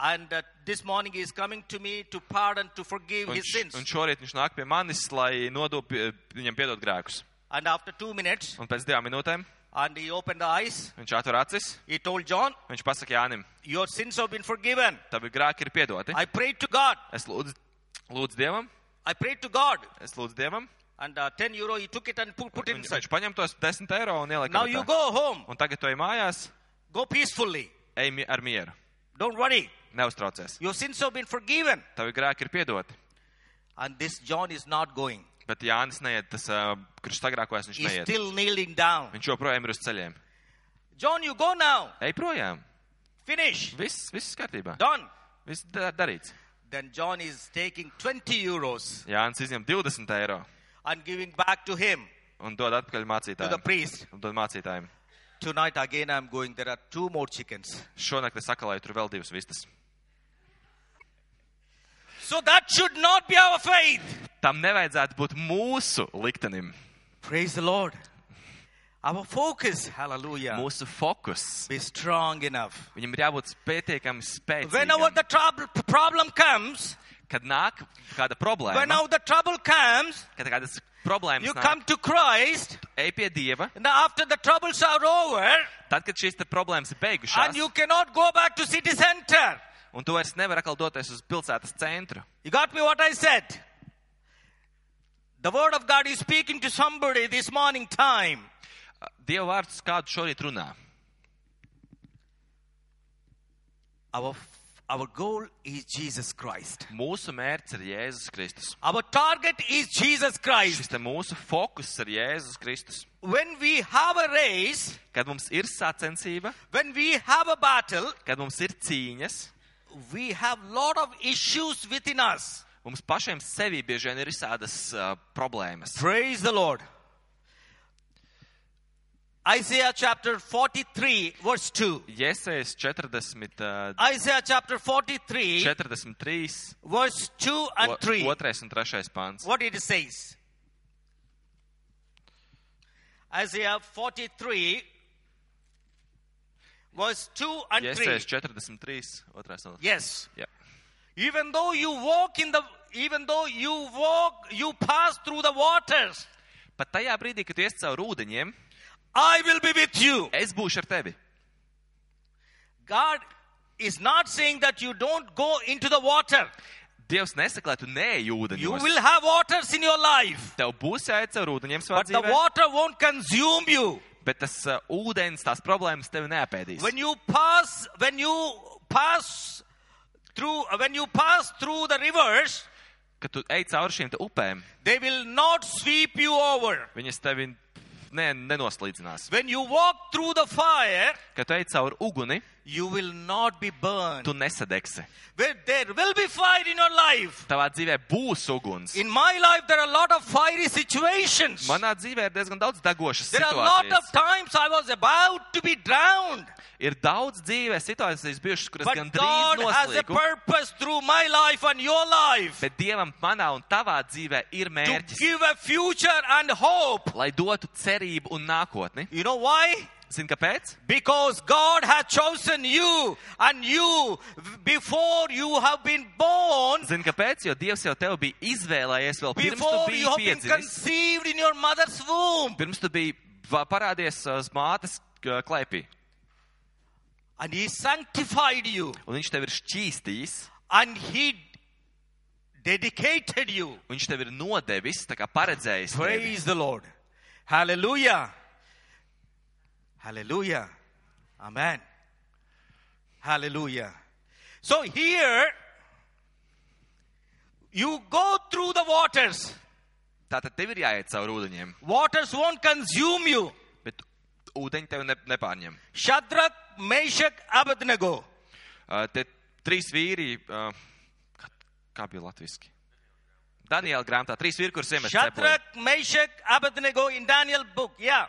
S1: and uh, this morning he is coming to me to pardon, to forgive
S2: Un,
S1: his
S2: š- un
S1: sins.
S2: šorīt viņš nāk pie manis, lai nodotu viņam piedot grēkus.
S1: And after two minutes,
S2: Un pēc divām minūtēm
S1: and he opened the eyes.
S2: viņš atver acis.
S1: He told John,
S2: Viņš pasaka Jānim,
S1: "Your sins have been forgiven."
S2: tavi grēki ir piedoti.
S1: I prayed to God.
S2: Es lūdzu, lūdzu Dievam,
S1: I prayed to God,
S2: es lūdzu Dievam.
S1: and uh, 10 euro he took it and put, put
S2: Un,
S1: inside.
S2: viņš paņem tos 10 eiro un ielika.
S1: Now you
S2: kabatā.
S1: go home.
S2: Un tagad tu ej mājās,
S1: Go peacefully.
S2: ej mi- ar mieru.
S1: Don't worry.
S2: Neuztraucies.
S1: Your sins have been forgiven.
S2: Tavi grēki ir piedoti.
S1: And this John is not going.
S2: Bet Jānis neiet, tas, uh, kurš sagrākojas, viņš
S1: He's
S2: neiet.
S1: still kneeling down.
S2: Viņš joprojām ir uz ceļiem.
S1: John, you go now.
S2: Ej projām.
S1: Finish.
S2: Viss, viss kārtībā.
S1: Done.
S2: Viss da- darīts.
S1: Then John is taking 20 euros
S2: Jānis izņem 20 eiro
S1: and giving back to him,
S2: un dod atpakaļ
S1: to the
S2: mācītājiem.
S1: priest.
S2: Un dod mācītājiem.
S1: Tonight again I'm going. There are two more chickens.
S2: Šonakt es sakalēju tur vēl divas vistas.
S1: So that should not be our faith.
S2: Tam nevajadzētu būt mūsu liktenim.
S1: Praise the Lord. Our focus, hallelujah,
S2: Mūsu fokus.
S1: be strong enough.
S2: Viņam ir jābūt pietiekami
S1: Whenever
S2: spēcīgam.
S1: the trouble, problem comes,
S2: Kad nāk kāda problēma,
S1: whenever the trouble comes,
S2: kad kādas problēmas
S1: you
S2: nāk,
S1: come to Christ.
S2: ej pie Dieva,
S1: And after the troubles are over,
S2: tad, kad šīs te problēmas ir
S1: and
S2: beigušās,
S1: you cannot go back to city center.
S2: un tu vairs nevar atkal doties uz pilsētas centru.
S1: You got me what I said? The word of God is speaking to somebody this morning time.
S2: Dieva vārds kādu šorīt runā.
S1: Our our goal is Jesus Christ.
S2: Mūsu mērķis ir Jēzus Kristus.
S1: Our target is Jesus Christ.
S2: Šis te mūsu fokus ir Jēzus Kristus.
S1: When we have a race,
S2: Kad mums ir sacensība,
S1: when we have a battle,
S2: kad mums ir cīņas,
S1: we have lot of issues within us.
S2: mums pašiem sevi bieži vien ir visādas uh, problēmas.
S1: Praise the Lord. Isaiah chapter 43, verse 2.
S2: Jēzus 40, uh,
S1: Isaiah chapter 43,
S2: 43,
S1: verse 2 and 3.
S2: 2 un 3 pāns.
S1: What it says. Isaiah 43, verse 2 and 3.
S2: Iesējas 43, otrās nodaļas.
S1: Yes.
S2: Jā.
S1: Even though you walk in the, even though you walk, you pass through the waters,
S2: Pat tajā brīdī, kad tu ies cauri ūdeņiem,
S1: I will be with you.
S2: es būšu ar tevi.
S1: God is not saying that you don't go into the water.
S2: Dievs nesaka, lai tu neej
S1: You
S2: ūdeņos.
S1: will have waters in your life,
S2: Tev būs jāiet cauri ūdeņiem savā
S1: but the
S2: dzīvē,
S1: water won't consume you.
S2: bet tas uh, ūdens, tās problēmas tevi neapēdīs.
S1: When you pass, when you pass through, when you pass through the rivers,
S2: Kad tu ej cauri šīm te upēm,
S1: they will not sweep you over.
S2: viņas tevi ne, nenoslīdzinās.
S1: When you walk through the fire,
S2: Kad tu ej cauri uguni,
S1: you will not be burned.
S2: tu nesadegsi.
S1: Where there will be fire in your life.
S2: Tavā dzīvē būs uguns.
S1: In my life, there are a lot of fiery situations.
S2: Manā dzīvē ir diezgan daudz degošas
S1: There are a lot of
S2: situācijas.
S1: times I was about to be drowned,
S2: Ir daudz dzīvē situācijas bijušas, kuras
S1: but
S2: gan
S1: God
S2: drīz
S1: has a
S2: noslīgu.
S1: purpose through my life and your life
S2: Bet Dievam manā un tavā dzīvē ir
S1: to
S2: mērķis,
S1: give a future and hope.
S2: lai dotu cerību un nākotni.
S1: You know why?
S2: Zini, kāpēc?
S1: Because God has chosen you, and you, before you have been born,
S2: Zini, kāpēc? Jo Dievs jau tevi bija izvēlējies vēl pirms tu
S1: before you
S2: biji
S1: have been
S2: piedzimis.
S1: conceived in your mother's womb.
S2: Pirms tu biji va- parādies uz mātes uh, klēpī.
S1: And He sanctified you,
S2: Un viņš tev ir šķīstījis,
S1: and He dedicated you.
S2: un viņš tev ir nodevis, tā kā paredzējis. tevi.
S1: Praise the Lord. Hallelujah. Hallelujah. Amen. Hallelujah. So here, you go through the waters.
S2: Tātad tev ir jāiet cauri ūdeņiem,
S1: Waters won't consume you.
S2: bet ūdeņi tev ne, nepārņem.
S1: Shadrach, Meshach, Abednego.
S2: Uh, Te trīs vīri, uh, kā, kā bija latviski? Daniela grāmatā, trīs vīri, kurus iemet cepurī.
S1: Shadrach, Meshach, Abednego in Daniel book. Yeah.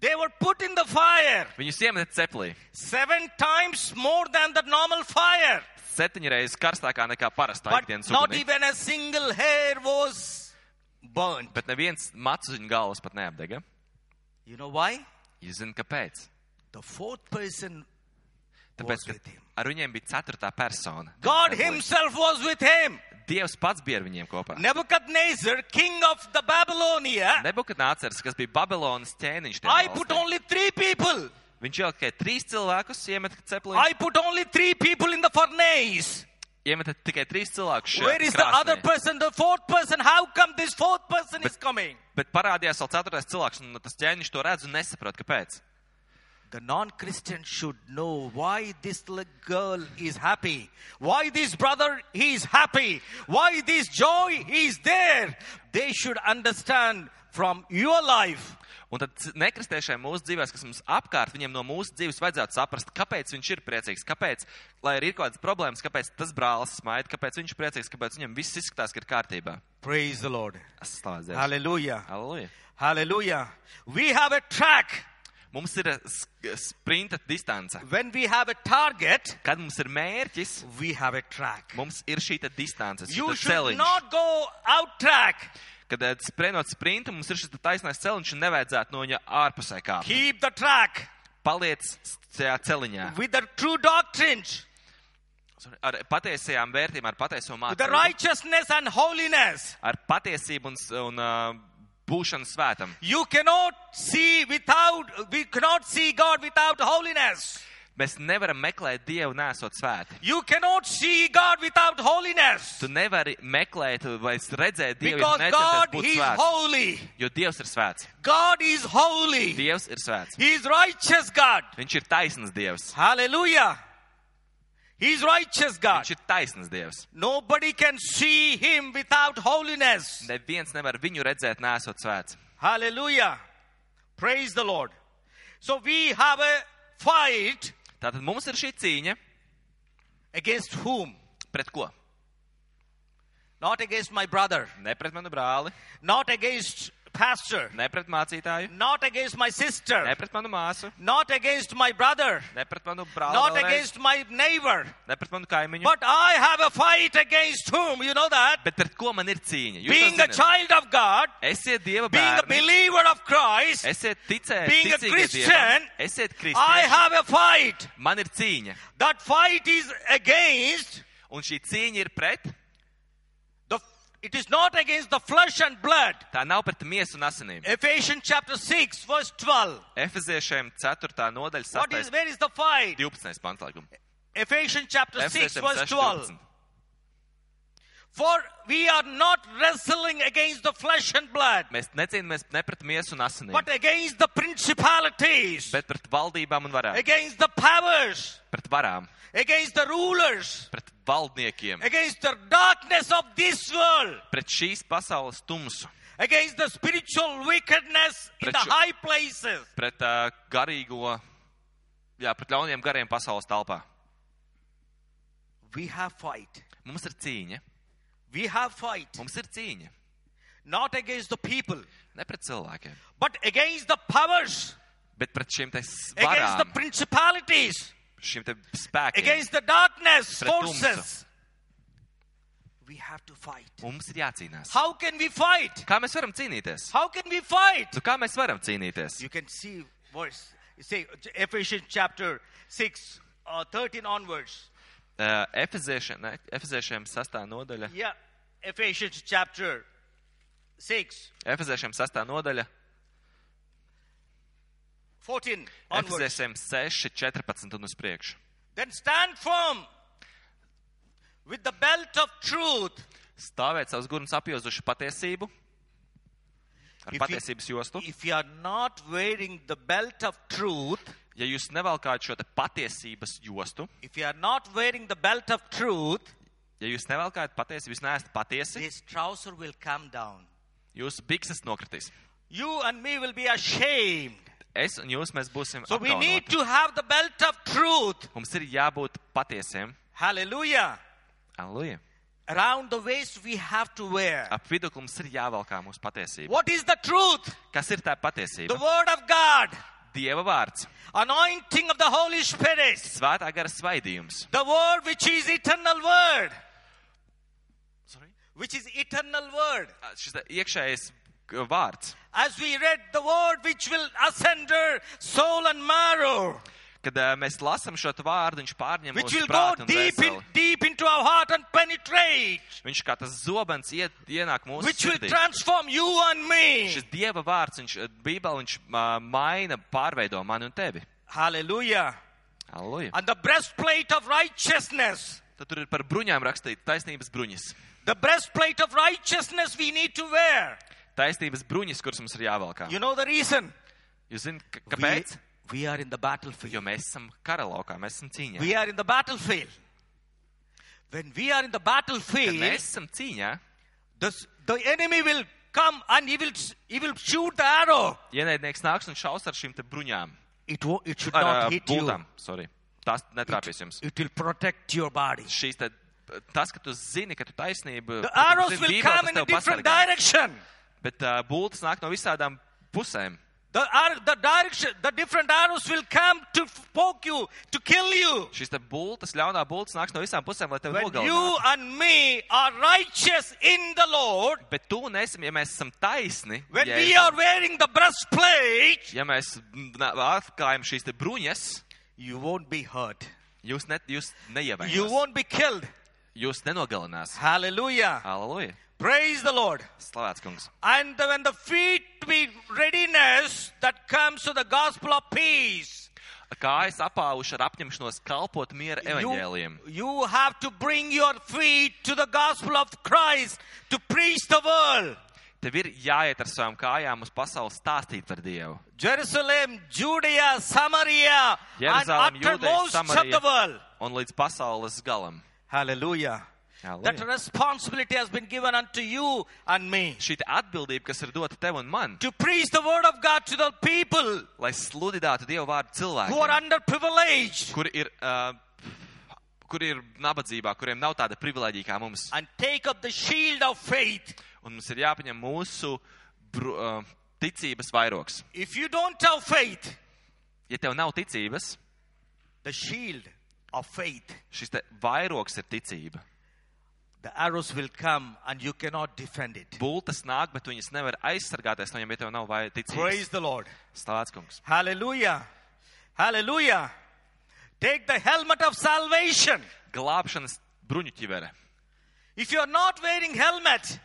S1: They were put in the fire
S2: Viņus iemet cepurī.
S1: seven times more than the normal fire.
S2: Septiņas reizes karstākā nekā parastā
S1: But
S2: ikdienas
S1: not
S2: ugunī.
S1: even a single hair was burned.
S2: Bet neviens maciņu galvas pat neapdega.
S1: You know why?
S2: Jūs zināt, kāpēc?
S1: The fourth person
S2: Tāpēc,
S1: was with
S2: ka
S1: him.
S2: ar viņiem bija ceturtā persona.
S1: God
S2: Tāpēc
S1: Himself was with him.
S2: Dievs pats bija ar viņiem kopā.
S1: Nebuchadnezzar, king of the Babylonia,
S2: Nebukadnācers, kas bija Babilonas ķēniņš, tajā
S1: I put
S2: valstī.
S1: only three people.
S2: viņš jau tikai trīs cilvēkus iemeta ceplī.
S1: I put only three people in the furnace.
S2: Iemeta tikai trīs cilvēkus šeit.
S1: Where is the other
S2: eh?
S1: person, the fourth person? How come this fourth person is coming?
S2: Bet parādījās vēl ceturtais cilvēks, un tas ķēniņš to redz un nesaprot, kāpēc.
S1: The non Christian should know why this little girl is happy, why this brother he is happy, why this joy is there. They should understand from your life.
S2: Un tad c- nekristēšiem mūsu dzīvēm, kas mums apkārt, viņiem no mūsu dzīves vajadzētu saprast, kāpēc viņš ir priecīgs, kāpēc, lai arī ir kaut kādas problēmas, kāpēc tas brālis smaida, kāpēc viņš ir priecīgs, kāpēc viņam viss izskatās, ka ir kārtībā.
S1: Praise the Lord.
S2: Es slavēju Dievu.
S1: Hallelujah.
S2: Halleluja.
S1: Hallelujah. We have a track.
S2: Mums ir eh, sk- sprinta distance.
S1: When we have a target,
S2: Kad mums ir mērķis,
S1: we have a track.
S2: mums ir šī te distance, šis
S1: You
S2: te
S1: should
S2: celiņš.
S1: not go out track.
S2: Kad eh, sprinot sprintu, mums ir šis te taisnais celiņš un nevajadzētu no viņa ārpusē kā.
S1: Keep the track
S2: Paliec s- tajā celiņā.
S1: with the true doctrines,
S2: Ar patiesajām vērtībām, ar patieso
S1: with the
S2: mācību.
S1: righteousness and holiness.
S2: ar patiesību un, s- un uh, būšanu svētam.
S1: You cannot see without, we cannot see God without holiness.
S2: Mēs nevaram meklēt Dievu, nesot svēti.
S1: You cannot see God without holiness.
S2: Tu nevari meklēt vai s- redzēt Dievu, ja
S1: Because
S2: tu necenties
S1: God
S2: būt
S1: is
S2: svēts.
S1: holy.
S2: Jo Dievs ir svēts.
S1: God is holy.
S2: Dievs ir svēts.
S1: He is righteous God.
S2: Viņš ir taisns Dievs.
S1: Hallelujah. He is righteous God.
S2: Viņš ir taisns Dievs.
S1: Nobody can see him without holiness.
S2: Neviens nevar viņu redzēt, nesot svēts.
S1: Hallelujah. Praise the Lord. So we have a fight
S2: Tātad mums ir šī cīņa
S1: against whom?
S2: pret ko?
S1: Not against my brother.
S2: Ne pret manu brāli,
S1: not against pastor,
S2: ne pret mācītāju,
S1: not against my
S2: ne
S1: sister,
S2: pret manu māsu,
S1: not against my brother,
S2: ne pret manu brāli,
S1: not
S2: vēlreiz,
S1: against my neighbor,
S2: ne pret manu kaimiņu.
S1: but I have a fight against whom? You know that?
S2: Bet pret ko man ir cīņa? Jūs
S1: Being
S2: to
S1: a
S2: zināt.
S1: child of God,
S2: Esiet Dieva
S1: being a
S2: bērni,
S1: believer of Christ,
S2: esiet ticēti,
S1: being a
S2: ticīgi Dievam,
S1: Christian,
S2: esiet
S1: I
S2: kristieši.
S1: have a fight.
S2: Man ir cīņa,
S1: That fight is against
S2: un šī cīņa ir pret,
S1: the it is not against the flesh and blood.
S2: tā nav pret miesu un asinīm.
S1: Ephesians chapter 6 verse 12.
S2: Efeziešiem 4. nodaļa
S1: What is
S2: 6.
S1: where is the fight?
S2: 12. pants lēguma.
S1: Ephesians chapter 6
S2: Efeziešiem
S1: verse 12.
S2: 6.12.
S1: For we are not wrestling against the flesh and blood,
S2: Mēs necīnāmies ne pret miesu un asinīm,
S1: but against the principalities,
S2: bet pret valdībām un varām,
S1: against the powers,
S2: pret varām,
S1: against the rulers,
S2: pret valdniekiem,
S1: against the darkness of this world,
S2: pret šīs pasaules tumsu,
S1: against the spiritual wickedness in
S2: Pret
S1: the
S2: šo-
S1: high places.
S2: pret uh, garīgo, jā, pret ļauniem gariem pasaules telpā.
S1: We have fight.
S2: Mums ir cīņa,
S1: We have fight
S2: mums ir cīņa,
S1: not against the people,
S2: ne pret cilvēkiem,
S1: but against the powers,
S2: bet pret šiem te
S1: against the
S2: svarām,
S1: principalities,
S2: šiem te spēkiem.
S1: against the darkness
S2: Pret tumsu.
S1: forces. We have to fight.
S2: Mums ir jācīnās.
S1: How can we fight?
S2: Kā mēs varam cīnīties?
S1: How can we fight?
S2: Nu, kā mēs varam cīnīties?
S1: You can see verse, say Ephesians chapter 6, uh, 13 onwards.
S2: Uh, Efeziešiem, ne, Efeziešiem sastā nodaļa.
S1: Yeah, Ephesians chapter 6,
S2: Efeziešiem sastā nodaļa.
S1: 14 onwards.
S2: Efeziešiem 6, 14 un uz priekšu.
S1: Then stand firm with the belt of truth.
S2: Stāvēt savus gurnus apjozuši patiesību.
S1: If
S2: Ar
S1: you-
S2: patiesības jostu.
S1: If you are not wearing the belt of truth,
S2: Ja jūs nevelkājat šo te patiesības jostu,
S1: if you are not wearing the belt of truth,
S2: ja jūs nevelkājat patiesību, jūs neesat patiesi,
S1: this trouser will come down.
S2: jūsu bikses nokritīs.
S1: You and me will be ashamed.
S2: Es un jūs mēs būsim
S1: So we need
S2: apkaunoti.
S1: to have the belt of truth.
S2: Mums ir jābūt patiesiem.
S1: Hallelujah.
S2: Aleluja.
S1: Around the waist we have to wear.
S2: Ap vidu mums ir jāvelkā mūsu patiesība.
S1: What is the truth?
S2: Kas ir
S1: The
S2: tā patiesība?
S1: word of God,
S2: Dieva vārds,
S1: anointing of the Holy Spirit,
S2: svētā gara svaidījums,
S1: the word which is eternal word,
S2: Sorry?
S1: which is eternal word.
S2: šis te iekšējais g- vārds,
S1: As we read the word which will ascend her soul and marrow.
S2: kad eh, mēs lasām šo te vārdu, viņš pārņem
S1: which
S2: mūsu
S1: will go
S2: prātu un
S1: deep in,
S2: dvēseli.
S1: deep into our heart and penetrate
S2: Viņš kā tas zobens iet, ienāk mūsu
S1: which will
S2: sirdī.
S1: transform you and me
S2: Šis Dieva vārds, viņš eh, Bībelē viņš eh, maina, pārveido mani un tevi.
S1: hallelujah
S2: Aleluja.
S1: and the breastplate of righteousness
S2: Tad tur ir par bruņām rakstīts taisnības bruņas.
S1: the breastplate of righteousness we need to wear
S2: Taisnības bruņas, kuras mums ir jāvelkā.
S1: you know the reason
S2: Jūs zināt, ka- kāpēc?
S1: we are in the
S2: Jo
S1: battlefield
S2: mēs esam kara laukā, mēs esam cīņā.
S1: we are in the battlefield when we are in the
S2: Kad
S1: battlefield
S2: mēs esam cīņā,
S1: the, the enemy will come and he will s- he will shoot the arrow
S2: ienaidnieks nāks un šaus ar šīm te bruņām.
S1: it wo- it should
S2: Ar
S1: not
S2: ā,
S1: hit you
S2: bultām, sorry. Tās netrāpīs jums.
S1: it will protect your body
S2: Šīs te, tas, ka tu zini, ka tu taisnība.
S1: The
S2: ka tu
S1: arrows
S2: zini
S1: will
S2: Bībeli,
S1: come
S2: tas
S1: in a
S2: tev
S1: different
S2: pasargā.
S1: direction.
S2: Bet uh, būtis nāk no visādām pusēm.
S1: The, ar- the direction, the different arrows will come to f- poke you, to kill you.
S2: Šis te būtis, ļaunā būtis nāk no visām pusēm, lai tevi
S1: When you
S2: nogalinātu.
S1: and me are righteous in the Lord,
S2: Bet tu un es, ja mēs esam taisni,
S1: when
S2: ja,
S1: we are wearing the breastplate,
S2: ja mēs n- nā- atklājam šīs te bruņas,
S1: you won't be hurt.
S2: jūs, ne, jūs
S1: You
S2: neievērsīsiet.
S1: won't be killed.
S2: Jūs nenogalinās.
S1: Hallelujah.
S2: Aleluja!
S1: Praise the Lord.
S2: Slavēts kungs!
S1: And the- when the feet be readiness that comes to the gospel of peace,
S2: Kājas apāvuši ar apņemšanos kalpot miera
S1: you,
S2: evaņģēliem.
S1: you have to bring your feet to the gospel of Christ to preach the world.
S2: Tev ir jāiet ar savām kājām uz pasauli stāstīt par Dievu.
S1: Jerusalem, Judea, Samaria, and
S2: Jerusalem, Jūdeja,
S1: uttermost of the
S2: Samarija
S1: world.
S2: un līdz pasaules galam.
S1: Hallelujah. That
S2: Halleluja.
S1: responsibility has been given unto you and me
S2: Šī te atbildība, kas ir dota tev un man,
S1: to preach the word of God to the people
S2: lai sludinātu Dievu vārdu
S1: who are
S2: cilvēkiem,
S1: underprivileged
S2: kur ir, uh, kur ir nabadzībā, kuriem nav tāda privilēģija kā mums.
S1: and take up the shield of faith
S2: Un mums ir jāpaņem mūsu bru, uh, ticības vairoks.
S1: If you don't have faith,
S2: Ja tev nav ticības,
S1: the shield of faith,
S2: šis te vairoks ir ticība.
S1: the arrows will come and you cannot defend it.
S2: Bultas nāk, bet viņas nevar aizsargāties no viņiem, ja tev nav vai ticības.
S1: Praise the Lord.
S2: Slāts kungs.
S1: Hallelujah. Hallelujah. Take the helmet of salvation.
S2: Glābšanas bruņuķivere.
S1: If you are not wearing helmet,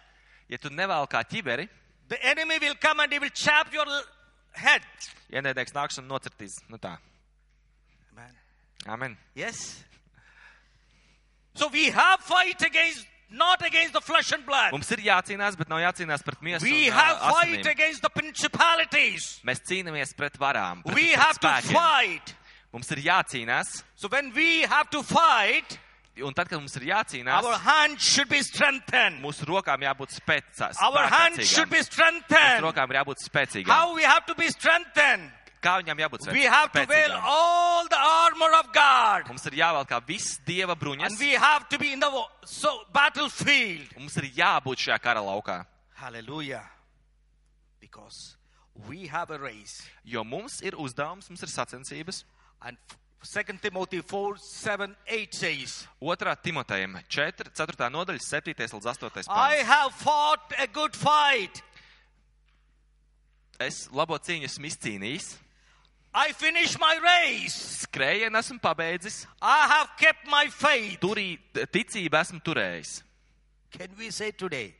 S2: Ja tu nevēl kā ķiveri,
S1: the enemy will come and he will chap your l- head.
S2: ienaidnieks nāks un nocirtīs. Nu tā.
S1: Amen.
S2: Amen.
S1: Yes. So we have fight against not against the flesh and blood.
S2: Mums ir jācīnās, bet nav jācīnās pret miesu.
S1: We
S2: un, ā,
S1: have fight
S2: asinīm.
S1: against the principalities.
S2: Mēs cīnāmies pret varām. Pret,
S1: We
S2: pret
S1: have to
S2: spēkiem.
S1: fight.
S2: Mums ir jācīnās,
S1: So when we have to fight,
S2: un tad, kad mums ir jācīnās,
S1: our hands should be strengthened.
S2: mūsu rokām jābūt spēcīgām.
S1: Our hands should be
S2: Mūsu
S1: strengthened.
S2: rokām ir jābūt spēcīgām.
S1: How we have to be strengthened?
S2: Kā viņam jābūt
S1: We have to wear
S2: spēcīgām?
S1: all the armor of God.
S2: Mums ir jāvēl kā viss dieva
S1: And
S2: bruņas.
S1: we have to be in the wa- so battlefield.
S2: un Mums ir jābūt šajā kara laukā,
S1: Hallelujah. Because we have a race.
S2: jo mums ir uzdevums, mums ir sacensības.
S1: And f- 2 Timothy 4 7 8 says,
S2: 2. Timotejam 4, 4. nodaļa, 7. līdz 8.
S1: I
S2: pāns.
S1: have fought a good fight.
S2: Es labo cīņu esmu izcīnījis,
S1: I finished my race.
S2: skrējienu esmu pabeidzis,
S1: I have kept my faith.
S2: turī, ticību esmu turējis.
S1: Can we say today?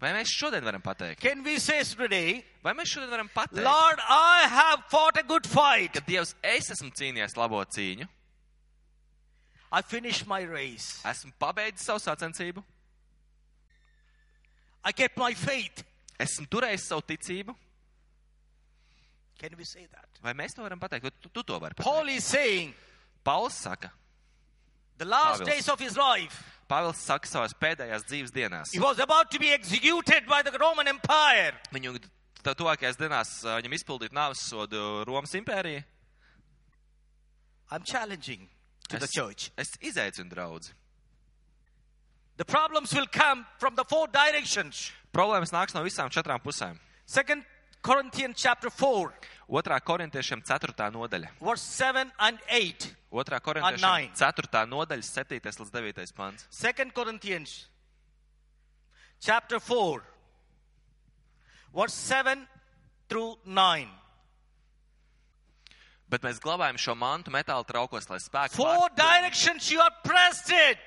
S2: Vai mēs šodien varam pateikt?
S1: Can we say today,
S2: Vai mēs šodien varam pateikt,
S1: Lord, I have fought a good fight.
S2: ka Dievs, es esmu cīnījies labo cīņu,
S1: I finished my race.
S2: esmu pabeidzis savu sacensību,
S1: I kept my faith.
S2: esmu turējis savu ticību?
S1: Can we say that?
S2: Vai mēs to varam pateikt? Tu, tu to vari pateikt.
S1: Paul is saying
S2: Pauls saka,
S1: the last
S2: Pavel.
S1: days of his life,
S2: Pāvils saka savās pēdējās dzīves dienās.
S1: he was about to be executed by the Roman Empire.
S2: Viņu tā tuvākajās dienās ā, viņam izpildīt nāves sodu Romas impērija.
S1: I'm challenging to the
S2: Es,
S1: church.
S2: es izaicinu draudzi.
S1: The problems will come from the four directions.
S2: Problēmas nāks no visām četrām pusēm.
S1: Second Corinthians chapter 4,
S2: Otrā korintiešiem 4. nodaļa.
S1: verse 7 and 8.
S2: Otrā
S1: nine.
S2: korintiešiem 4. nodaļa 7. līdz 9. pants.
S1: Second Corinthians chapter 4 verse 7 through 9
S2: Bet mēs glabājam šo mantu metāla traukos, lai spēks
S1: four directions you are pressed it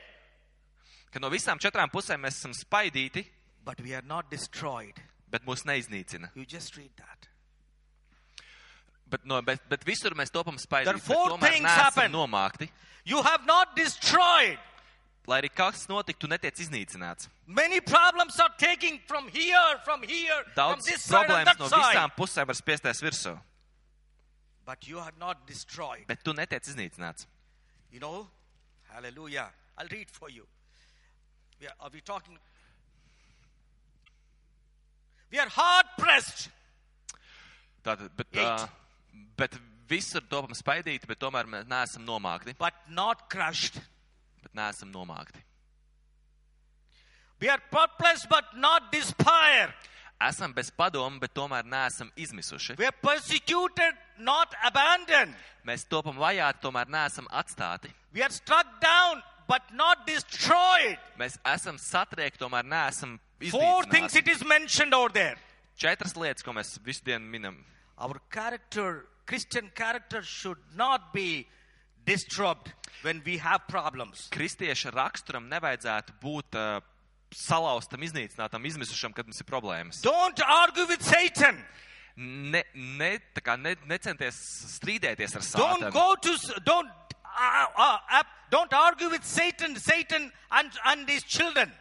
S2: ka no visām četrām pusēm mēs esam spaidīti,
S1: but we are not destroyed
S2: bet mūs neiznīcina.
S1: you just read that
S2: Bet, no, bet, bet visur mēs topam spaidīti.
S1: There four
S2: bet tomēr
S1: things
S2: neesam
S1: happen.
S2: Nomākti.
S1: you have not destroyed
S2: Lai arī kas notiktu, netiek iznīcināts.
S1: many problems are taking from here from here from
S2: Daudz
S1: this side and
S2: problēmas
S1: that
S2: no
S1: side
S2: visām pusēm var spiesties virsū,
S1: but you have not destroyed
S2: bet tu netiek iznīcināts.
S1: you know hallelujah i'll read for you we are, are we talking we are hard pressed
S2: Tātad, bet,
S1: Eight.
S2: uh, bet visur topam spaidīti, bet tomēr mēs neesam nomākti.
S1: but not crushed.
S2: Bet neesam nomākti.
S1: We are perplexed but not despair.
S2: Esam bez padomu, bet tomēr neesam izmisuši.
S1: We are persecuted, not abandoned.
S2: Mēs topam vajāti, tomēr neesam atstāti.
S1: We are struck down but not destroyed.
S2: Mēs esam satriekti, tomēr neesam
S1: Four things
S2: iznīcināti.
S1: it is mentioned over there.
S2: Četras lietas, ko mēs visu dienu minam.
S1: Our character, Christian character, should not be disturbed when we have problems.
S2: Kristieša raksturam nevajadzētu būt uh, salauztam, iznīcinātam, izmisušam, kad mums ir problēmas.
S1: Don't argue with Satan.
S2: Ne, ne, tā kā ne, necenties strīdēties ar
S1: Don't
S2: Sātanu.
S1: go to s- don't uh, uh, uh, don't argue with Satan, Satan and and his children.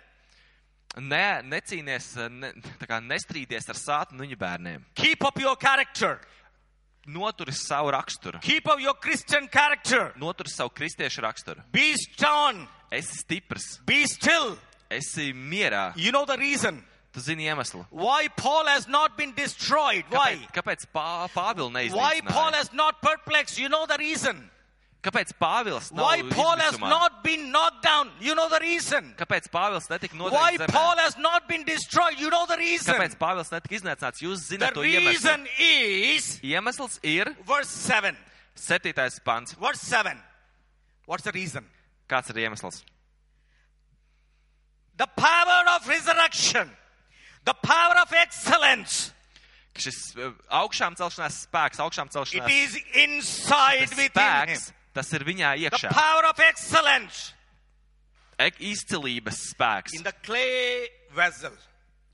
S2: Ne, necīnies, uh, ne, tā kā nestrīdies ar Sātanu un viņa bērniem.
S1: Keep up your character.
S2: Noturi savu raksturu.
S1: Keep up your Christian character.
S2: Noturi savu kristiešu raksturu.
S1: Be strong.
S2: Esi stiprs,
S1: Be still.
S2: esi mierā.
S1: You know the reason
S2: Tu zini iemeslu.
S1: why Paul has not been destroyed. Why?
S2: Kāpēc, kāpēc pā, Pāvils
S1: Why Paul
S2: neiznīcināja?
S1: has not perplexed? You know the reason.
S2: Kāpēc Pāvils nav
S1: Why Paul has
S2: izmisumā?
S1: not been knocked down? You know the reason.
S2: Kāpēc Pāvils netika
S1: Why
S2: nodevis
S1: Paul
S2: zemē?
S1: has not been destroyed? You know the reason.
S2: Kāpēc Pāvils netika iznēcāts? Jūs
S1: The
S2: zināt to iemeslu.
S1: reason is
S2: Iemesls ir
S1: verse 7.
S2: septītais pants.
S1: Verse 7. What's the reason?
S2: Kāds ir iemesls?
S1: The power of resurrection, the power of excellence,
S2: Ka Šis eh, augšām celšanās spēks, augšām
S1: it
S2: celšanās
S1: is inside
S2: tas
S1: within him.
S2: spēks, tas ir viņā
S1: The
S2: iekšā.
S1: power of excellence
S2: Ek- Izcilības spēks.
S1: in the clay vessel.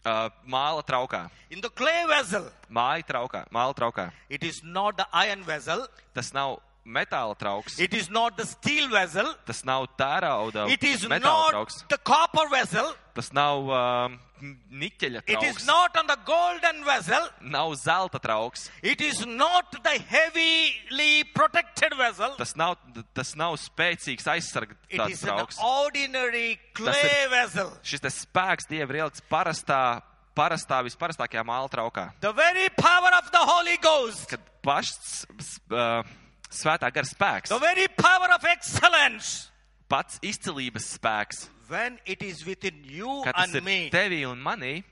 S2: Uh, Māla traukā.
S1: In the clay vessel,
S2: Māja traukā. Māla traukā.
S1: it is not the iron vessel,
S2: Tas nav metāla trauks.
S1: it is not the steel vessel,
S2: Tas nav tērauda
S1: it is
S2: metāla
S1: not
S2: trauks.
S1: the copper vessel,
S2: Tas nav uh, niķeļa
S1: it is
S2: trauks.
S1: not on the golden vessel,
S2: Nav zelta trauks.
S1: it is not the heavily protected vessel,
S2: Tas nav, tas nav spēcīgs
S1: it
S2: aizsargāts
S1: is an
S2: trauks.
S1: ordinary clay vessel.
S2: Šis te spēks dievam ir ielikts parastā, parastā visparastākajā māla traukā.
S1: The very power of the Holy Ghost,
S2: Kad pašs s- uh, svētā gara spēks,
S1: the very power of excellence,
S2: pats izcilības spēks,
S1: when it is within you
S2: kā tas
S1: and
S2: ir
S1: me,
S2: tevī un manī,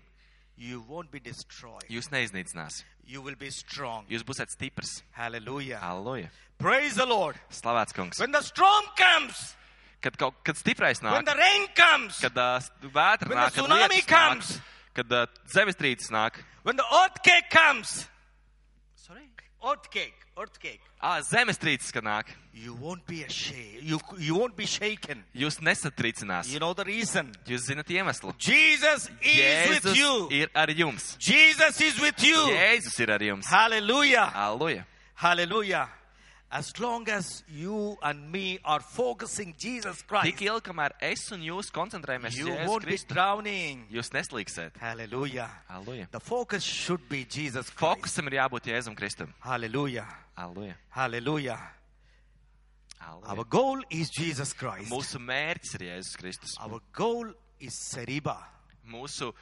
S1: you won't be destroyed.
S2: jūs neiznīcinās.
S1: You will be strong.
S2: Jūs būsiet stiprs.
S1: Hallelujah.
S2: Aleluja!
S1: Praise the Lord.
S2: Slavēts kungs!
S1: When the storm comes,
S2: Kad, kaut, kad stiprais
S1: when
S2: nāk,
S1: the rain comes,
S2: kad uh, s- vētra
S1: When
S2: nāk,
S1: the
S2: kad
S1: tsunami
S2: lietus
S1: comes.
S2: nāk, kad uh, zemestrīces nāk,
S1: when the earthquake comes, earthquake, earthquake,
S2: ah, zemestrīces, kad nāk,
S1: you won't be ashamed. You, you won't be shaken.
S2: jūs nesatricinās.
S1: You know the reason.
S2: Jūs zinat iemeslu.
S1: Jesus is with
S2: Jēzus
S1: you.
S2: ir ar jums.
S1: Jesus is with you.
S2: Jēzus ir ar jums.
S1: Hallelujah.
S2: Aleluja!
S1: Hallelujah. As long as you and me are focusing Jesus
S2: Tik
S1: Christ,
S2: ilgi, kamēr es un jūs koncentrējamies uz
S1: you
S2: Jēzu
S1: won't be
S2: Kristu,
S1: drowning.
S2: jūs neslīksiet.
S1: Hallelujah.
S2: Aleluja!
S1: The focus should be Jesus Christ.
S2: Fokusam ir jābūt Jēzum Kristum.
S1: Hallelujah.
S2: Aleluja!
S1: Hallelujah. Our
S2: Aleluja.
S1: goal is Jesus Christ.
S2: Mūsu mērķis ir Jēzus Kristus.
S1: Our goal is Seriba.
S2: Mūsu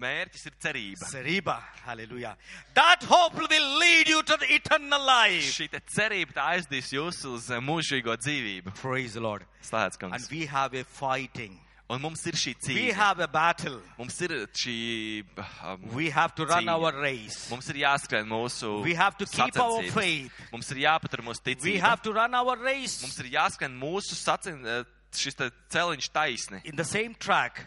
S2: mērķis ir cerība.
S1: Seriba. Hallelujah. That hope will lead you to the eternal life.
S2: Šī te cerība tā aizdīs jūs uz eh, mūžīgo dzīvību.
S1: Praise the Lord.
S2: Slēdz,
S1: And
S2: kungs.
S1: we have a fighting.
S2: Un mums ir šī
S1: We
S2: cīņa.
S1: have a battle.
S2: Mums ir šī. Um,
S1: We have to run
S2: Cīņa.
S1: our race.
S2: mums ir jāskrien mūsu.
S1: We have to keep our
S2: sacensības.
S1: faith.
S2: Mums ir jāpatur mūsu
S1: We
S2: ticība.
S1: have to run our
S2: Mums
S1: race
S2: ir jāskrien mūsu sacen, eh, šis te celiņš taisni.
S1: in the same track.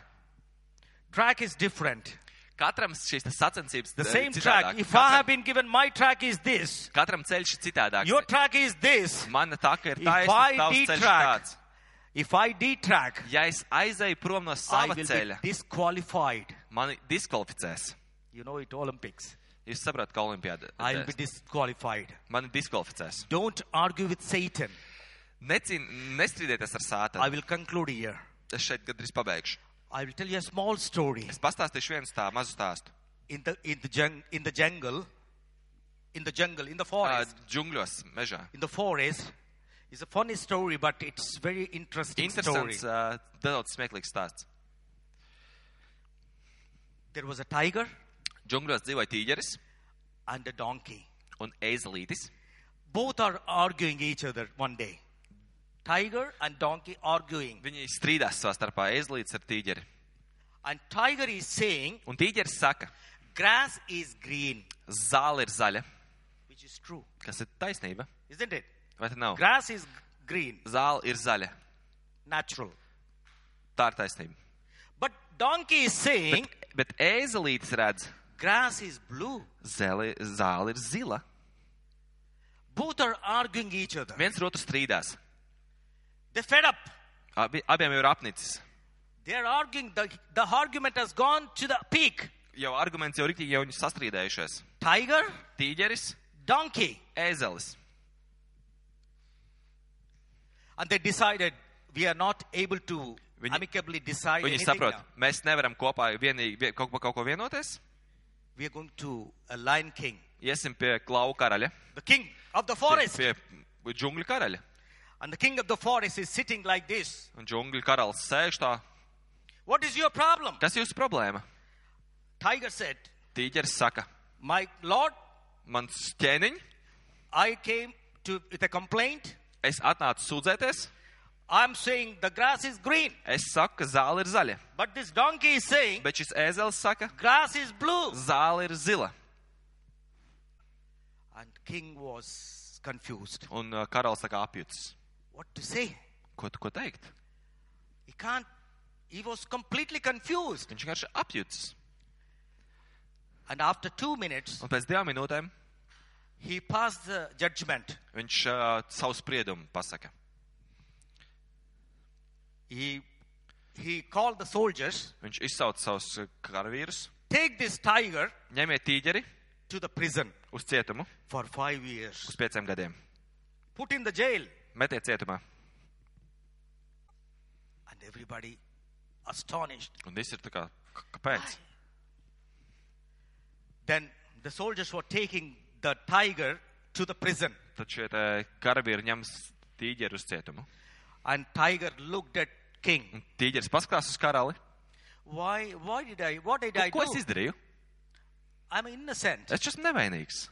S1: Track is different.
S2: Katram šīs te sacensības
S1: The
S2: eh,
S1: same
S2: citādāk.
S1: track. If I have
S2: Katram,
S1: been given my track is this,
S2: katram ceļš ir citādāk.
S1: your track is this.
S2: Mana taka ir
S1: If
S2: taisna,
S1: I
S2: tavs ceļš ir
S1: detract,
S2: tāds.
S1: If I detract,
S2: Ja es aizēju prom no
S1: I
S2: sava
S1: will be
S2: ceļa,
S1: disqualified.
S2: mani diskvalificēs.
S1: You know it Olympics.
S2: Jūs saprotat, ka olimpiāda
S1: I will be disqualified.
S2: mani diskvalificēs.
S1: Don't argue with Satan.
S2: Necīn, nestrīdieties
S1: I
S2: ar sātanu.
S1: will conclude here.
S2: Es šeit gandrīz pabeigšu.
S1: I will tell you a small story.
S2: Es pastāstīšu vienu stāstu, mazu stāstu.
S1: In the in the jung, in the jungle, in the jungle, in the
S2: Uh,
S1: forest.
S2: džungļos, mežā.
S1: in the forest. It's a funny story, but it's very interesting story.
S2: Interesants, uh, daudz smieklīgs stāsts.
S1: There was a tiger
S2: Džungļos dzīvoja tīģeris
S1: and a donkey.
S2: un eizelītis.
S1: Both are arguing each other one day. Tiger and donkey arguing,
S2: Viņi strīdās savā starpā eizelītis ar tīģeri.
S1: and tiger is saying,
S2: Un tīģeris saka,
S1: "Grass is green,"
S2: zāle ir zaļa,
S1: which is true,
S2: kas ir taisnība.
S1: isn't it?
S2: Vai tā nav?
S1: Grass is green,
S2: Zāle ir zaļa.
S1: natural.
S2: Tā ir taisnība.
S1: But donkey is saying,
S2: Bet, bet eizelītis redz,
S1: "Grass is blue."
S2: zeli, zāle ir zila.
S1: Both are arguing each other.
S2: Viens ar otru strīdās.
S1: They fed up.
S2: Abi, abiem jau ir apnicis.
S1: They are arguing. The, the argument has gone to the peak.
S2: Jau arguments jau rīktīgi jau viņi sastrīdējušies.
S1: Tiger,
S2: Tīģeris,
S1: donkey.
S2: ēzelis.
S1: And they decided we are not able to
S2: Viņi-
S1: amicably decide.
S2: Viņi
S1: anything
S2: saprot,
S1: now.
S2: mēs nevaram kopā vienīgi vien, kaut, par kaut ko vienoties.
S1: We are going to a lion king,
S2: Iesim pie klauva karaļa.
S1: the king of the
S2: Pie,
S1: forest.
S2: pie džungļu karaļa.
S1: And the king of the forest is sitting like this.
S2: Un džungļu karalis sēž tā.
S1: What is your problem?
S2: Kas jūsu problēma?
S1: Tiger said,
S2: Tīģeris saka,
S1: My lord,
S2: mans ķēniņ,
S1: I came to, with a complaint
S2: Es atnācu sūdzēties,
S1: I'm saying the grass is green,
S2: es saku, ka zāle ir zaļa,
S1: but this donkey is saying
S2: bet šis ēzelis saka,
S1: grass is blue.
S2: zāle ir zila.
S1: And king was confused.
S2: Un uh, karalis tā kā apjūts.
S1: What to say?
S2: Ko, ko teikt?
S1: He can't. He was completely confused.
S2: Viņš vienkārši apjūts.
S1: And after two minutes,
S2: Un pēc divām minūtēm
S1: he passed the judgment.
S2: viņš uh, savu spriedumu pasaka.
S1: He he called the soldiers.
S2: Viņš izsauc savus uh, karavīrus,
S1: Take this tiger
S2: ņemiet tīģeri
S1: to the prison
S2: uz cietumu
S1: for five years.
S2: uz pieciem gadiem.
S1: Put in the jail.
S2: Metiet cietumā.
S1: And everybody astonished.
S2: Un viss ir tā kā, k- kāpēc?
S1: Then the soldiers were taking the tiger to the prison.
S2: Tad šie te karavīri ņems tīģeri uz cietumu.
S1: And tiger looked at king.
S2: Un tīģeris paskatās uz karali.
S1: Why why did I what did
S2: Nu,
S1: I
S2: ko es
S1: do?
S2: izdarīju?
S1: I'm innocent.
S2: Es esmu nevainīgs.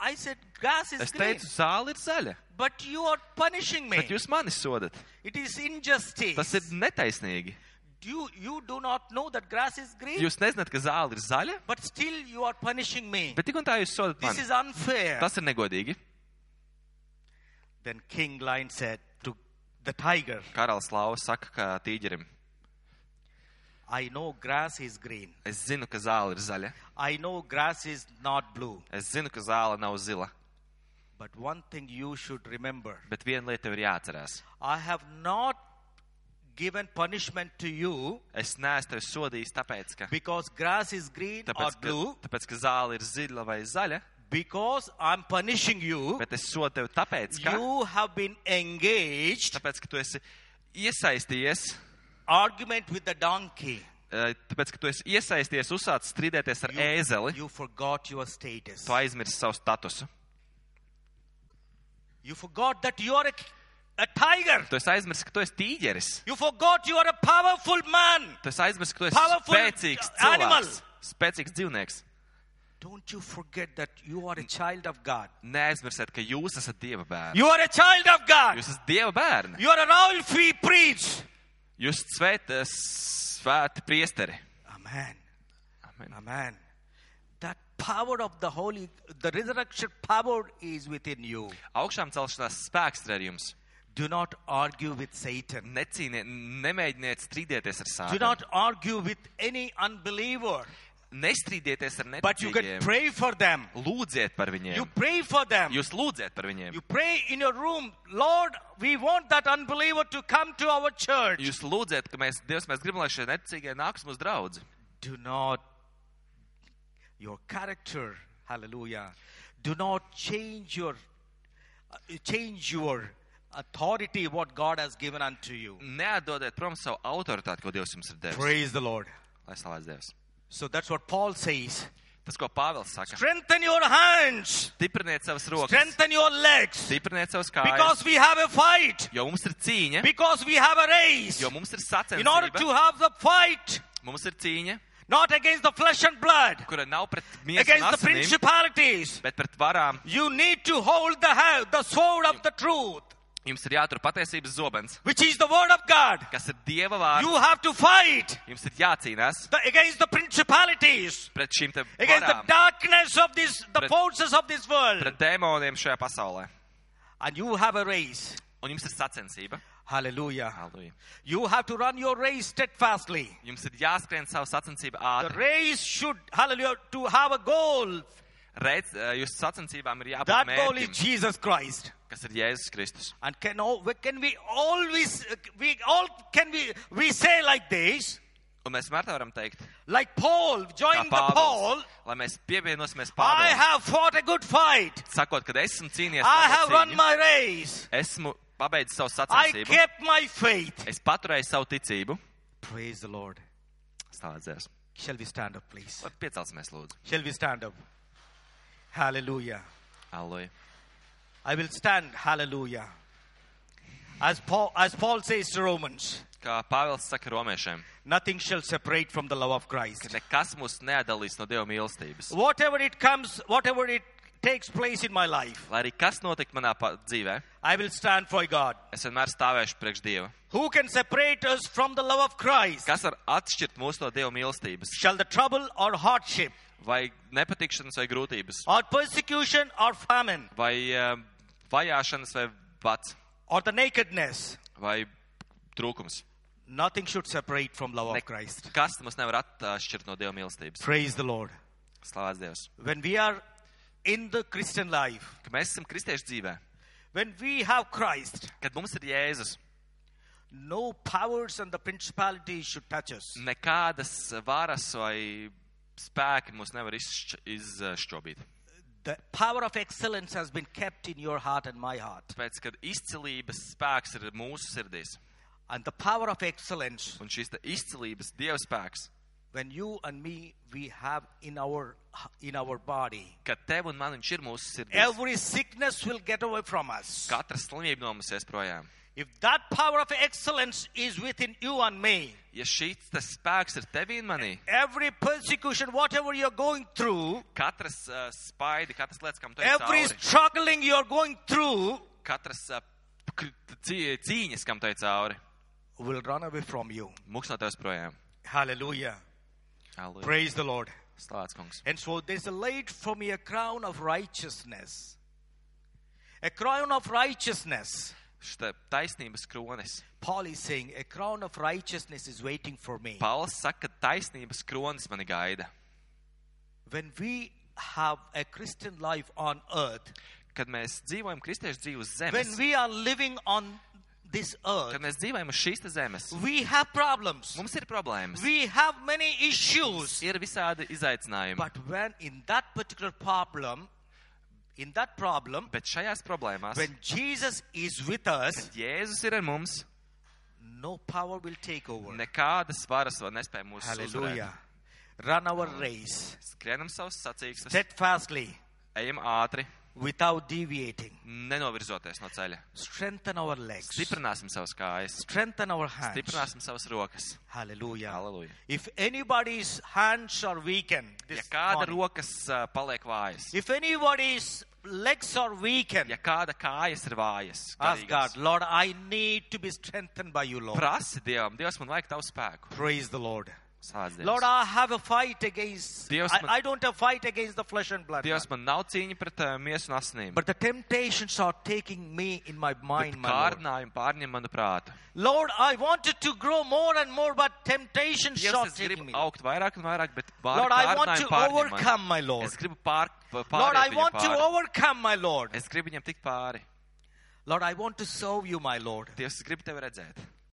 S1: I said grass is
S2: Es
S1: green,
S2: teicu, zāle ir zaļa,
S1: but you are punishing
S2: bet
S1: me.
S2: jūs mani sodat.
S1: It is injustice.
S2: Tas ir netaisnīgi.
S1: You you do not know that grass is green,
S2: Jūs nezināt, ka zāle ir zaļa,
S1: but still you are punishing me.
S2: bet tik un tā jūs sodat
S1: This
S2: mani.
S1: is unfair.
S2: Tas ir negodīgi.
S1: Then King Lion said to the tiger,
S2: Karalis Lava saka, ka tīģerim.
S1: I know grass is green.
S2: Es zinu, ka zāle ir zaļa.
S1: I know grass is not blue.
S2: Es zinu, ka zāle nav zila.
S1: But one thing you should remember
S2: Bet viena lieta tev ir jāatcerās.
S1: I have not given punishment to you
S2: Es neesmu tevi sodījis, tāpēc, ka,
S1: because grass is green or
S2: tāpēc, ka,
S1: blue,
S2: tāpēc, ka zāle ir zila vai zaļa,
S1: because I'm punishing you.
S2: bet es sodu tevi tāpēc, ka,
S1: You have been engaged
S2: tāpēc, ka tu esi iesaistījies,
S1: argument with the donkey.
S2: eh, tāpēc, ka tu esi iesaistījies, uzsācis strīdēties ar
S1: You,
S2: ēzeli,
S1: you forgot your status.
S2: tu aizmirsti savu statusu.
S1: You forgot that you are a, a tiger.
S2: Tu esi aizmirsis, ka tu esi tīģeris.
S1: You forgot you are a powerful man.
S2: Tu esi aizmirsis, ka tu esi
S1: Powerful
S2: spēcīgs
S1: animal.
S2: cilvēks, spēcīgs dzīvnieks.
S1: Don't you forget that you are a child of God.
S2: Neaizmirsiet, ka jūs esat dieva bērni.
S1: You are a child of God.
S2: Jūs esat dieva bērni.
S1: You are an oil free priest.
S2: Jūs svēt, eh, svēti priesteri.
S1: Amen.
S2: Amen.
S1: Amen. That power of the Holy, the resurrection power is within you.
S2: Augšām celšanās spēks ir ar jums.
S1: Do not argue with Satan.
S2: Necīniet, nemēģiniet strīdēties ar
S1: Do
S2: sāpēm.
S1: not argue with any unbeliever.
S2: Nestrīdieties ar
S1: But you can
S2: neticīgiem.
S1: pray for them.
S2: Lūdziet
S1: You
S2: par viņiem.
S1: pray for them.
S2: Jūs lūdziet par viņiem.
S1: You pray in your room, Lord, we want that unbeliever to come to our church.
S2: Jūs lūdziet, ka mēs, Dievs, mēs gribam, lai šie neticīgie nāks mūsu draudzi.
S1: Do not, your character, hallelujah, do not change your, uh, change your authority, what God has given unto you.
S2: Neatdodiet prom savu autoritāti, ko Dievs jums ir devis.
S1: Praise the Lord.
S2: Lai slavēts Dievs.
S1: So that's what Paul says.
S2: Tas, ko Pāvils saka,
S1: Strengthen your hands,
S2: stipriniet savas rokas,
S1: strengthen your legs,
S2: stipriniet savas kājas,
S1: because we have a fight,
S2: jo mums ir cīņa,
S1: because we have a race.
S2: jo mums ir
S1: In order to
S2: sacensība,
S1: have the fight,
S2: mums ir cīņa,
S1: not against the flesh and blood,
S2: kura nav pret miesas
S1: against the
S2: asinīm,
S1: principalities.
S2: bet pret varām.
S1: You need to hold the ha- the sword of the truth,
S2: Jums ir jātur patiesības zobens,
S1: which is the word of God.
S2: kas ir Dieva vārds.
S1: You have to fight
S2: Jums ir jācīnās
S1: the, against the principalities,
S2: pret šīm te
S1: against the
S2: varām,
S1: darkness of this, the
S2: Pret-
S1: forces of this world,
S2: pret dēmoniem šajā pasaulē.
S1: and you have a race.
S2: Un jums ir sacensība.
S1: Hallelujah.
S2: Halleluja.
S1: You have to run your race steadfastly.
S2: Jums ir jāskrien savu sacensību
S1: The
S2: ātri.
S1: race should, hallelujah, to have a goal.
S2: Reiz eh, jūsu sacensībām ir jābūt
S1: That goal is
S2: mērķim,
S1: Jesus Christ.
S2: kas ir Jēzus Kristus.
S1: And can, all, can we always, we all, can we, we say like this,
S2: Un mēs vienmēr tā varam teikt,
S1: like Paul,
S2: kā
S1: join the Paul,
S2: Pāvils, lai mēs pievienosimies
S1: I
S2: Pāvēlam.
S1: have fought a good fight.
S2: Sakot, kad esmu cīnījies,
S1: I
S2: labo
S1: have run
S2: cīņu,
S1: my race.
S2: esmu pabeidzis savu
S1: I
S2: sacensību,
S1: kept my faith.
S2: es paturēju savu ticību.
S1: Praise the Lord.
S2: Stāvēsies.
S1: Shall we stand up, please?
S2: Piecelsimies, lūdzu.
S1: Shall we stand up? Hallelujah.
S2: Alloja.
S1: I will stand. Hallelujah. As Paul, as Paul says to Romans,
S2: Kā Pāvils saka romiešiem,
S1: nothing shall separate from the love of Christ.
S2: nekas mūs neatdalīs no Dieva mīlestības.
S1: Whatever it comes, whatever it takes place in my life,
S2: Lai arī kas notiek manā pa- dzīvē,
S1: I will stand for God.
S2: es vienmēr stāvēšu priekš Dieva.
S1: Who can separate us from the love of Christ?
S2: Kas var atšķirt mūs no Dieva mīlestības?
S1: Shall the trouble or hardship,
S2: Vai nepatikšanas, vai grūtības,
S1: or persecution or famine,
S2: vai eh, vajāšanas, vai pats,
S1: or the nakedness?
S2: vai trūkums?
S1: Nothing should separate from love of Christ.
S2: Kas mums nevar atšķirt no Dieva mīlestības?
S1: Praise the Lord.
S2: Slavēts Dievs!
S1: When we are in the Christian life,
S2: Ka mēs esam kristieši dzīvē,
S1: when we have Christ,
S2: kad mums ir Jēzus,
S1: no powers and the principalities should touch us.
S2: nekādas varas vai spēki mūs nevar izšķ- izšķobīt.
S1: The power of excellence has been kept in your heart and my heart.
S2: Tāpēc, kad izcilības spēks ir mūsu sirdīs,
S1: And the power of excellence,
S2: un šis te izcilības dieva spēks,
S1: when you and me we have in our in our body,
S2: ka tev un man viņš ir mūsu sirdīs,
S1: every sickness will get away from us.
S2: katra slimība no mums ies projām.
S1: If that power of excellence is within you and me,
S2: Ja šis te spēks ir tevī un manī,
S1: every persecution, whatever you're going through,
S2: katras uh, spaidi, katras lietas, kam tu esi
S1: every
S2: cauri,
S1: struggling you're going through
S2: katras uh, cīņas, kam tu esi cauri,
S1: will run away from you.
S2: mūks no tevis projām.
S1: Hallelujah.
S2: Halleluja.
S1: Praise the Lord.
S2: Slavēts kungs.
S1: And so there's a laid for me a crown of righteousness. A crown of righteousness.
S2: Šita taisnības kronis.
S1: Paul is saying, a crown of righteousness is waiting for me.
S2: Pauls saka, ka taisnības kronis mani gaida.
S1: When we have a Christian life on earth,
S2: Kad mēs dzīvojam kristiešu dzīvi uz
S1: when
S2: zemes,
S1: we are living on this earth,
S2: kad mēs dzīvojam uz šīs te zemes,
S1: we have problems.
S2: mums ir problēmas.
S1: We have many issues.
S2: Ir visādi izaicinājumi.
S1: But when in that particular problem, in that problem,
S2: Bet šajās problēmās,
S1: when Jesus is with us,
S2: kad Jēzus ir ar mums,
S1: no power will take over.
S2: nekādas varas vai nespēja mūs
S1: Hallelujah.
S2: uzvarēt.
S1: Run our race
S2: Skrienam savus sacīkstus,
S1: steadfastly
S2: ejam ātri,
S1: without deviating.
S2: nenovirzoties no ceļa.
S1: Strengthen our legs.
S2: Stiprināsim savas kājas,
S1: Strengthen our hands.
S2: stiprināsim savas rokas.
S1: Hallelujah.
S2: Hallelujah.
S1: If anybody's hands are weakened,
S2: Ja
S1: this
S2: kāda
S1: morning,
S2: rokas uh, paliek vājas,
S1: if anybody's legs are weakened,
S2: ja kāda kājas ir vājas,
S1: ask
S2: garīgas,
S1: God, Lord, I need to be strengthened by you, Lord.
S2: prasi Dievam, Dievs man vajag tavu spēku.
S1: Praise the Lord.
S2: Slāds
S1: Lord,
S2: Dievs.
S1: I have a fight against.
S2: Dievs
S1: I,
S2: man-
S1: I don't have fight against the flesh and blood,
S2: Dievs man nav cīņa pret uh, miesu un asinīm.
S1: but the temptations are taking me in my
S2: bet
S1: mind, my Lord.
S2: Kārdinājumi pārņem manu prātu.
S1: Lord, I wanted to grow more and more, but temptations
S2: Dievs,
S1: are
S2: es
S1: taking
S2: gribu
S1: me.
S2: augt vairāk un vairāk, bet
S1: Lord, I want to
S2: pārņem mani.
S1: overcome, my Lord.
S2: Es gribu pār, pār,
S1: Lord, I want to
S2: pāri.
S1: overcome, my Lord.
S2: Es gribu viņam tikt pāri.
S1: Lord, I want to serve you, my Lord.
S2: Dievs, es gribu tevi redzēt.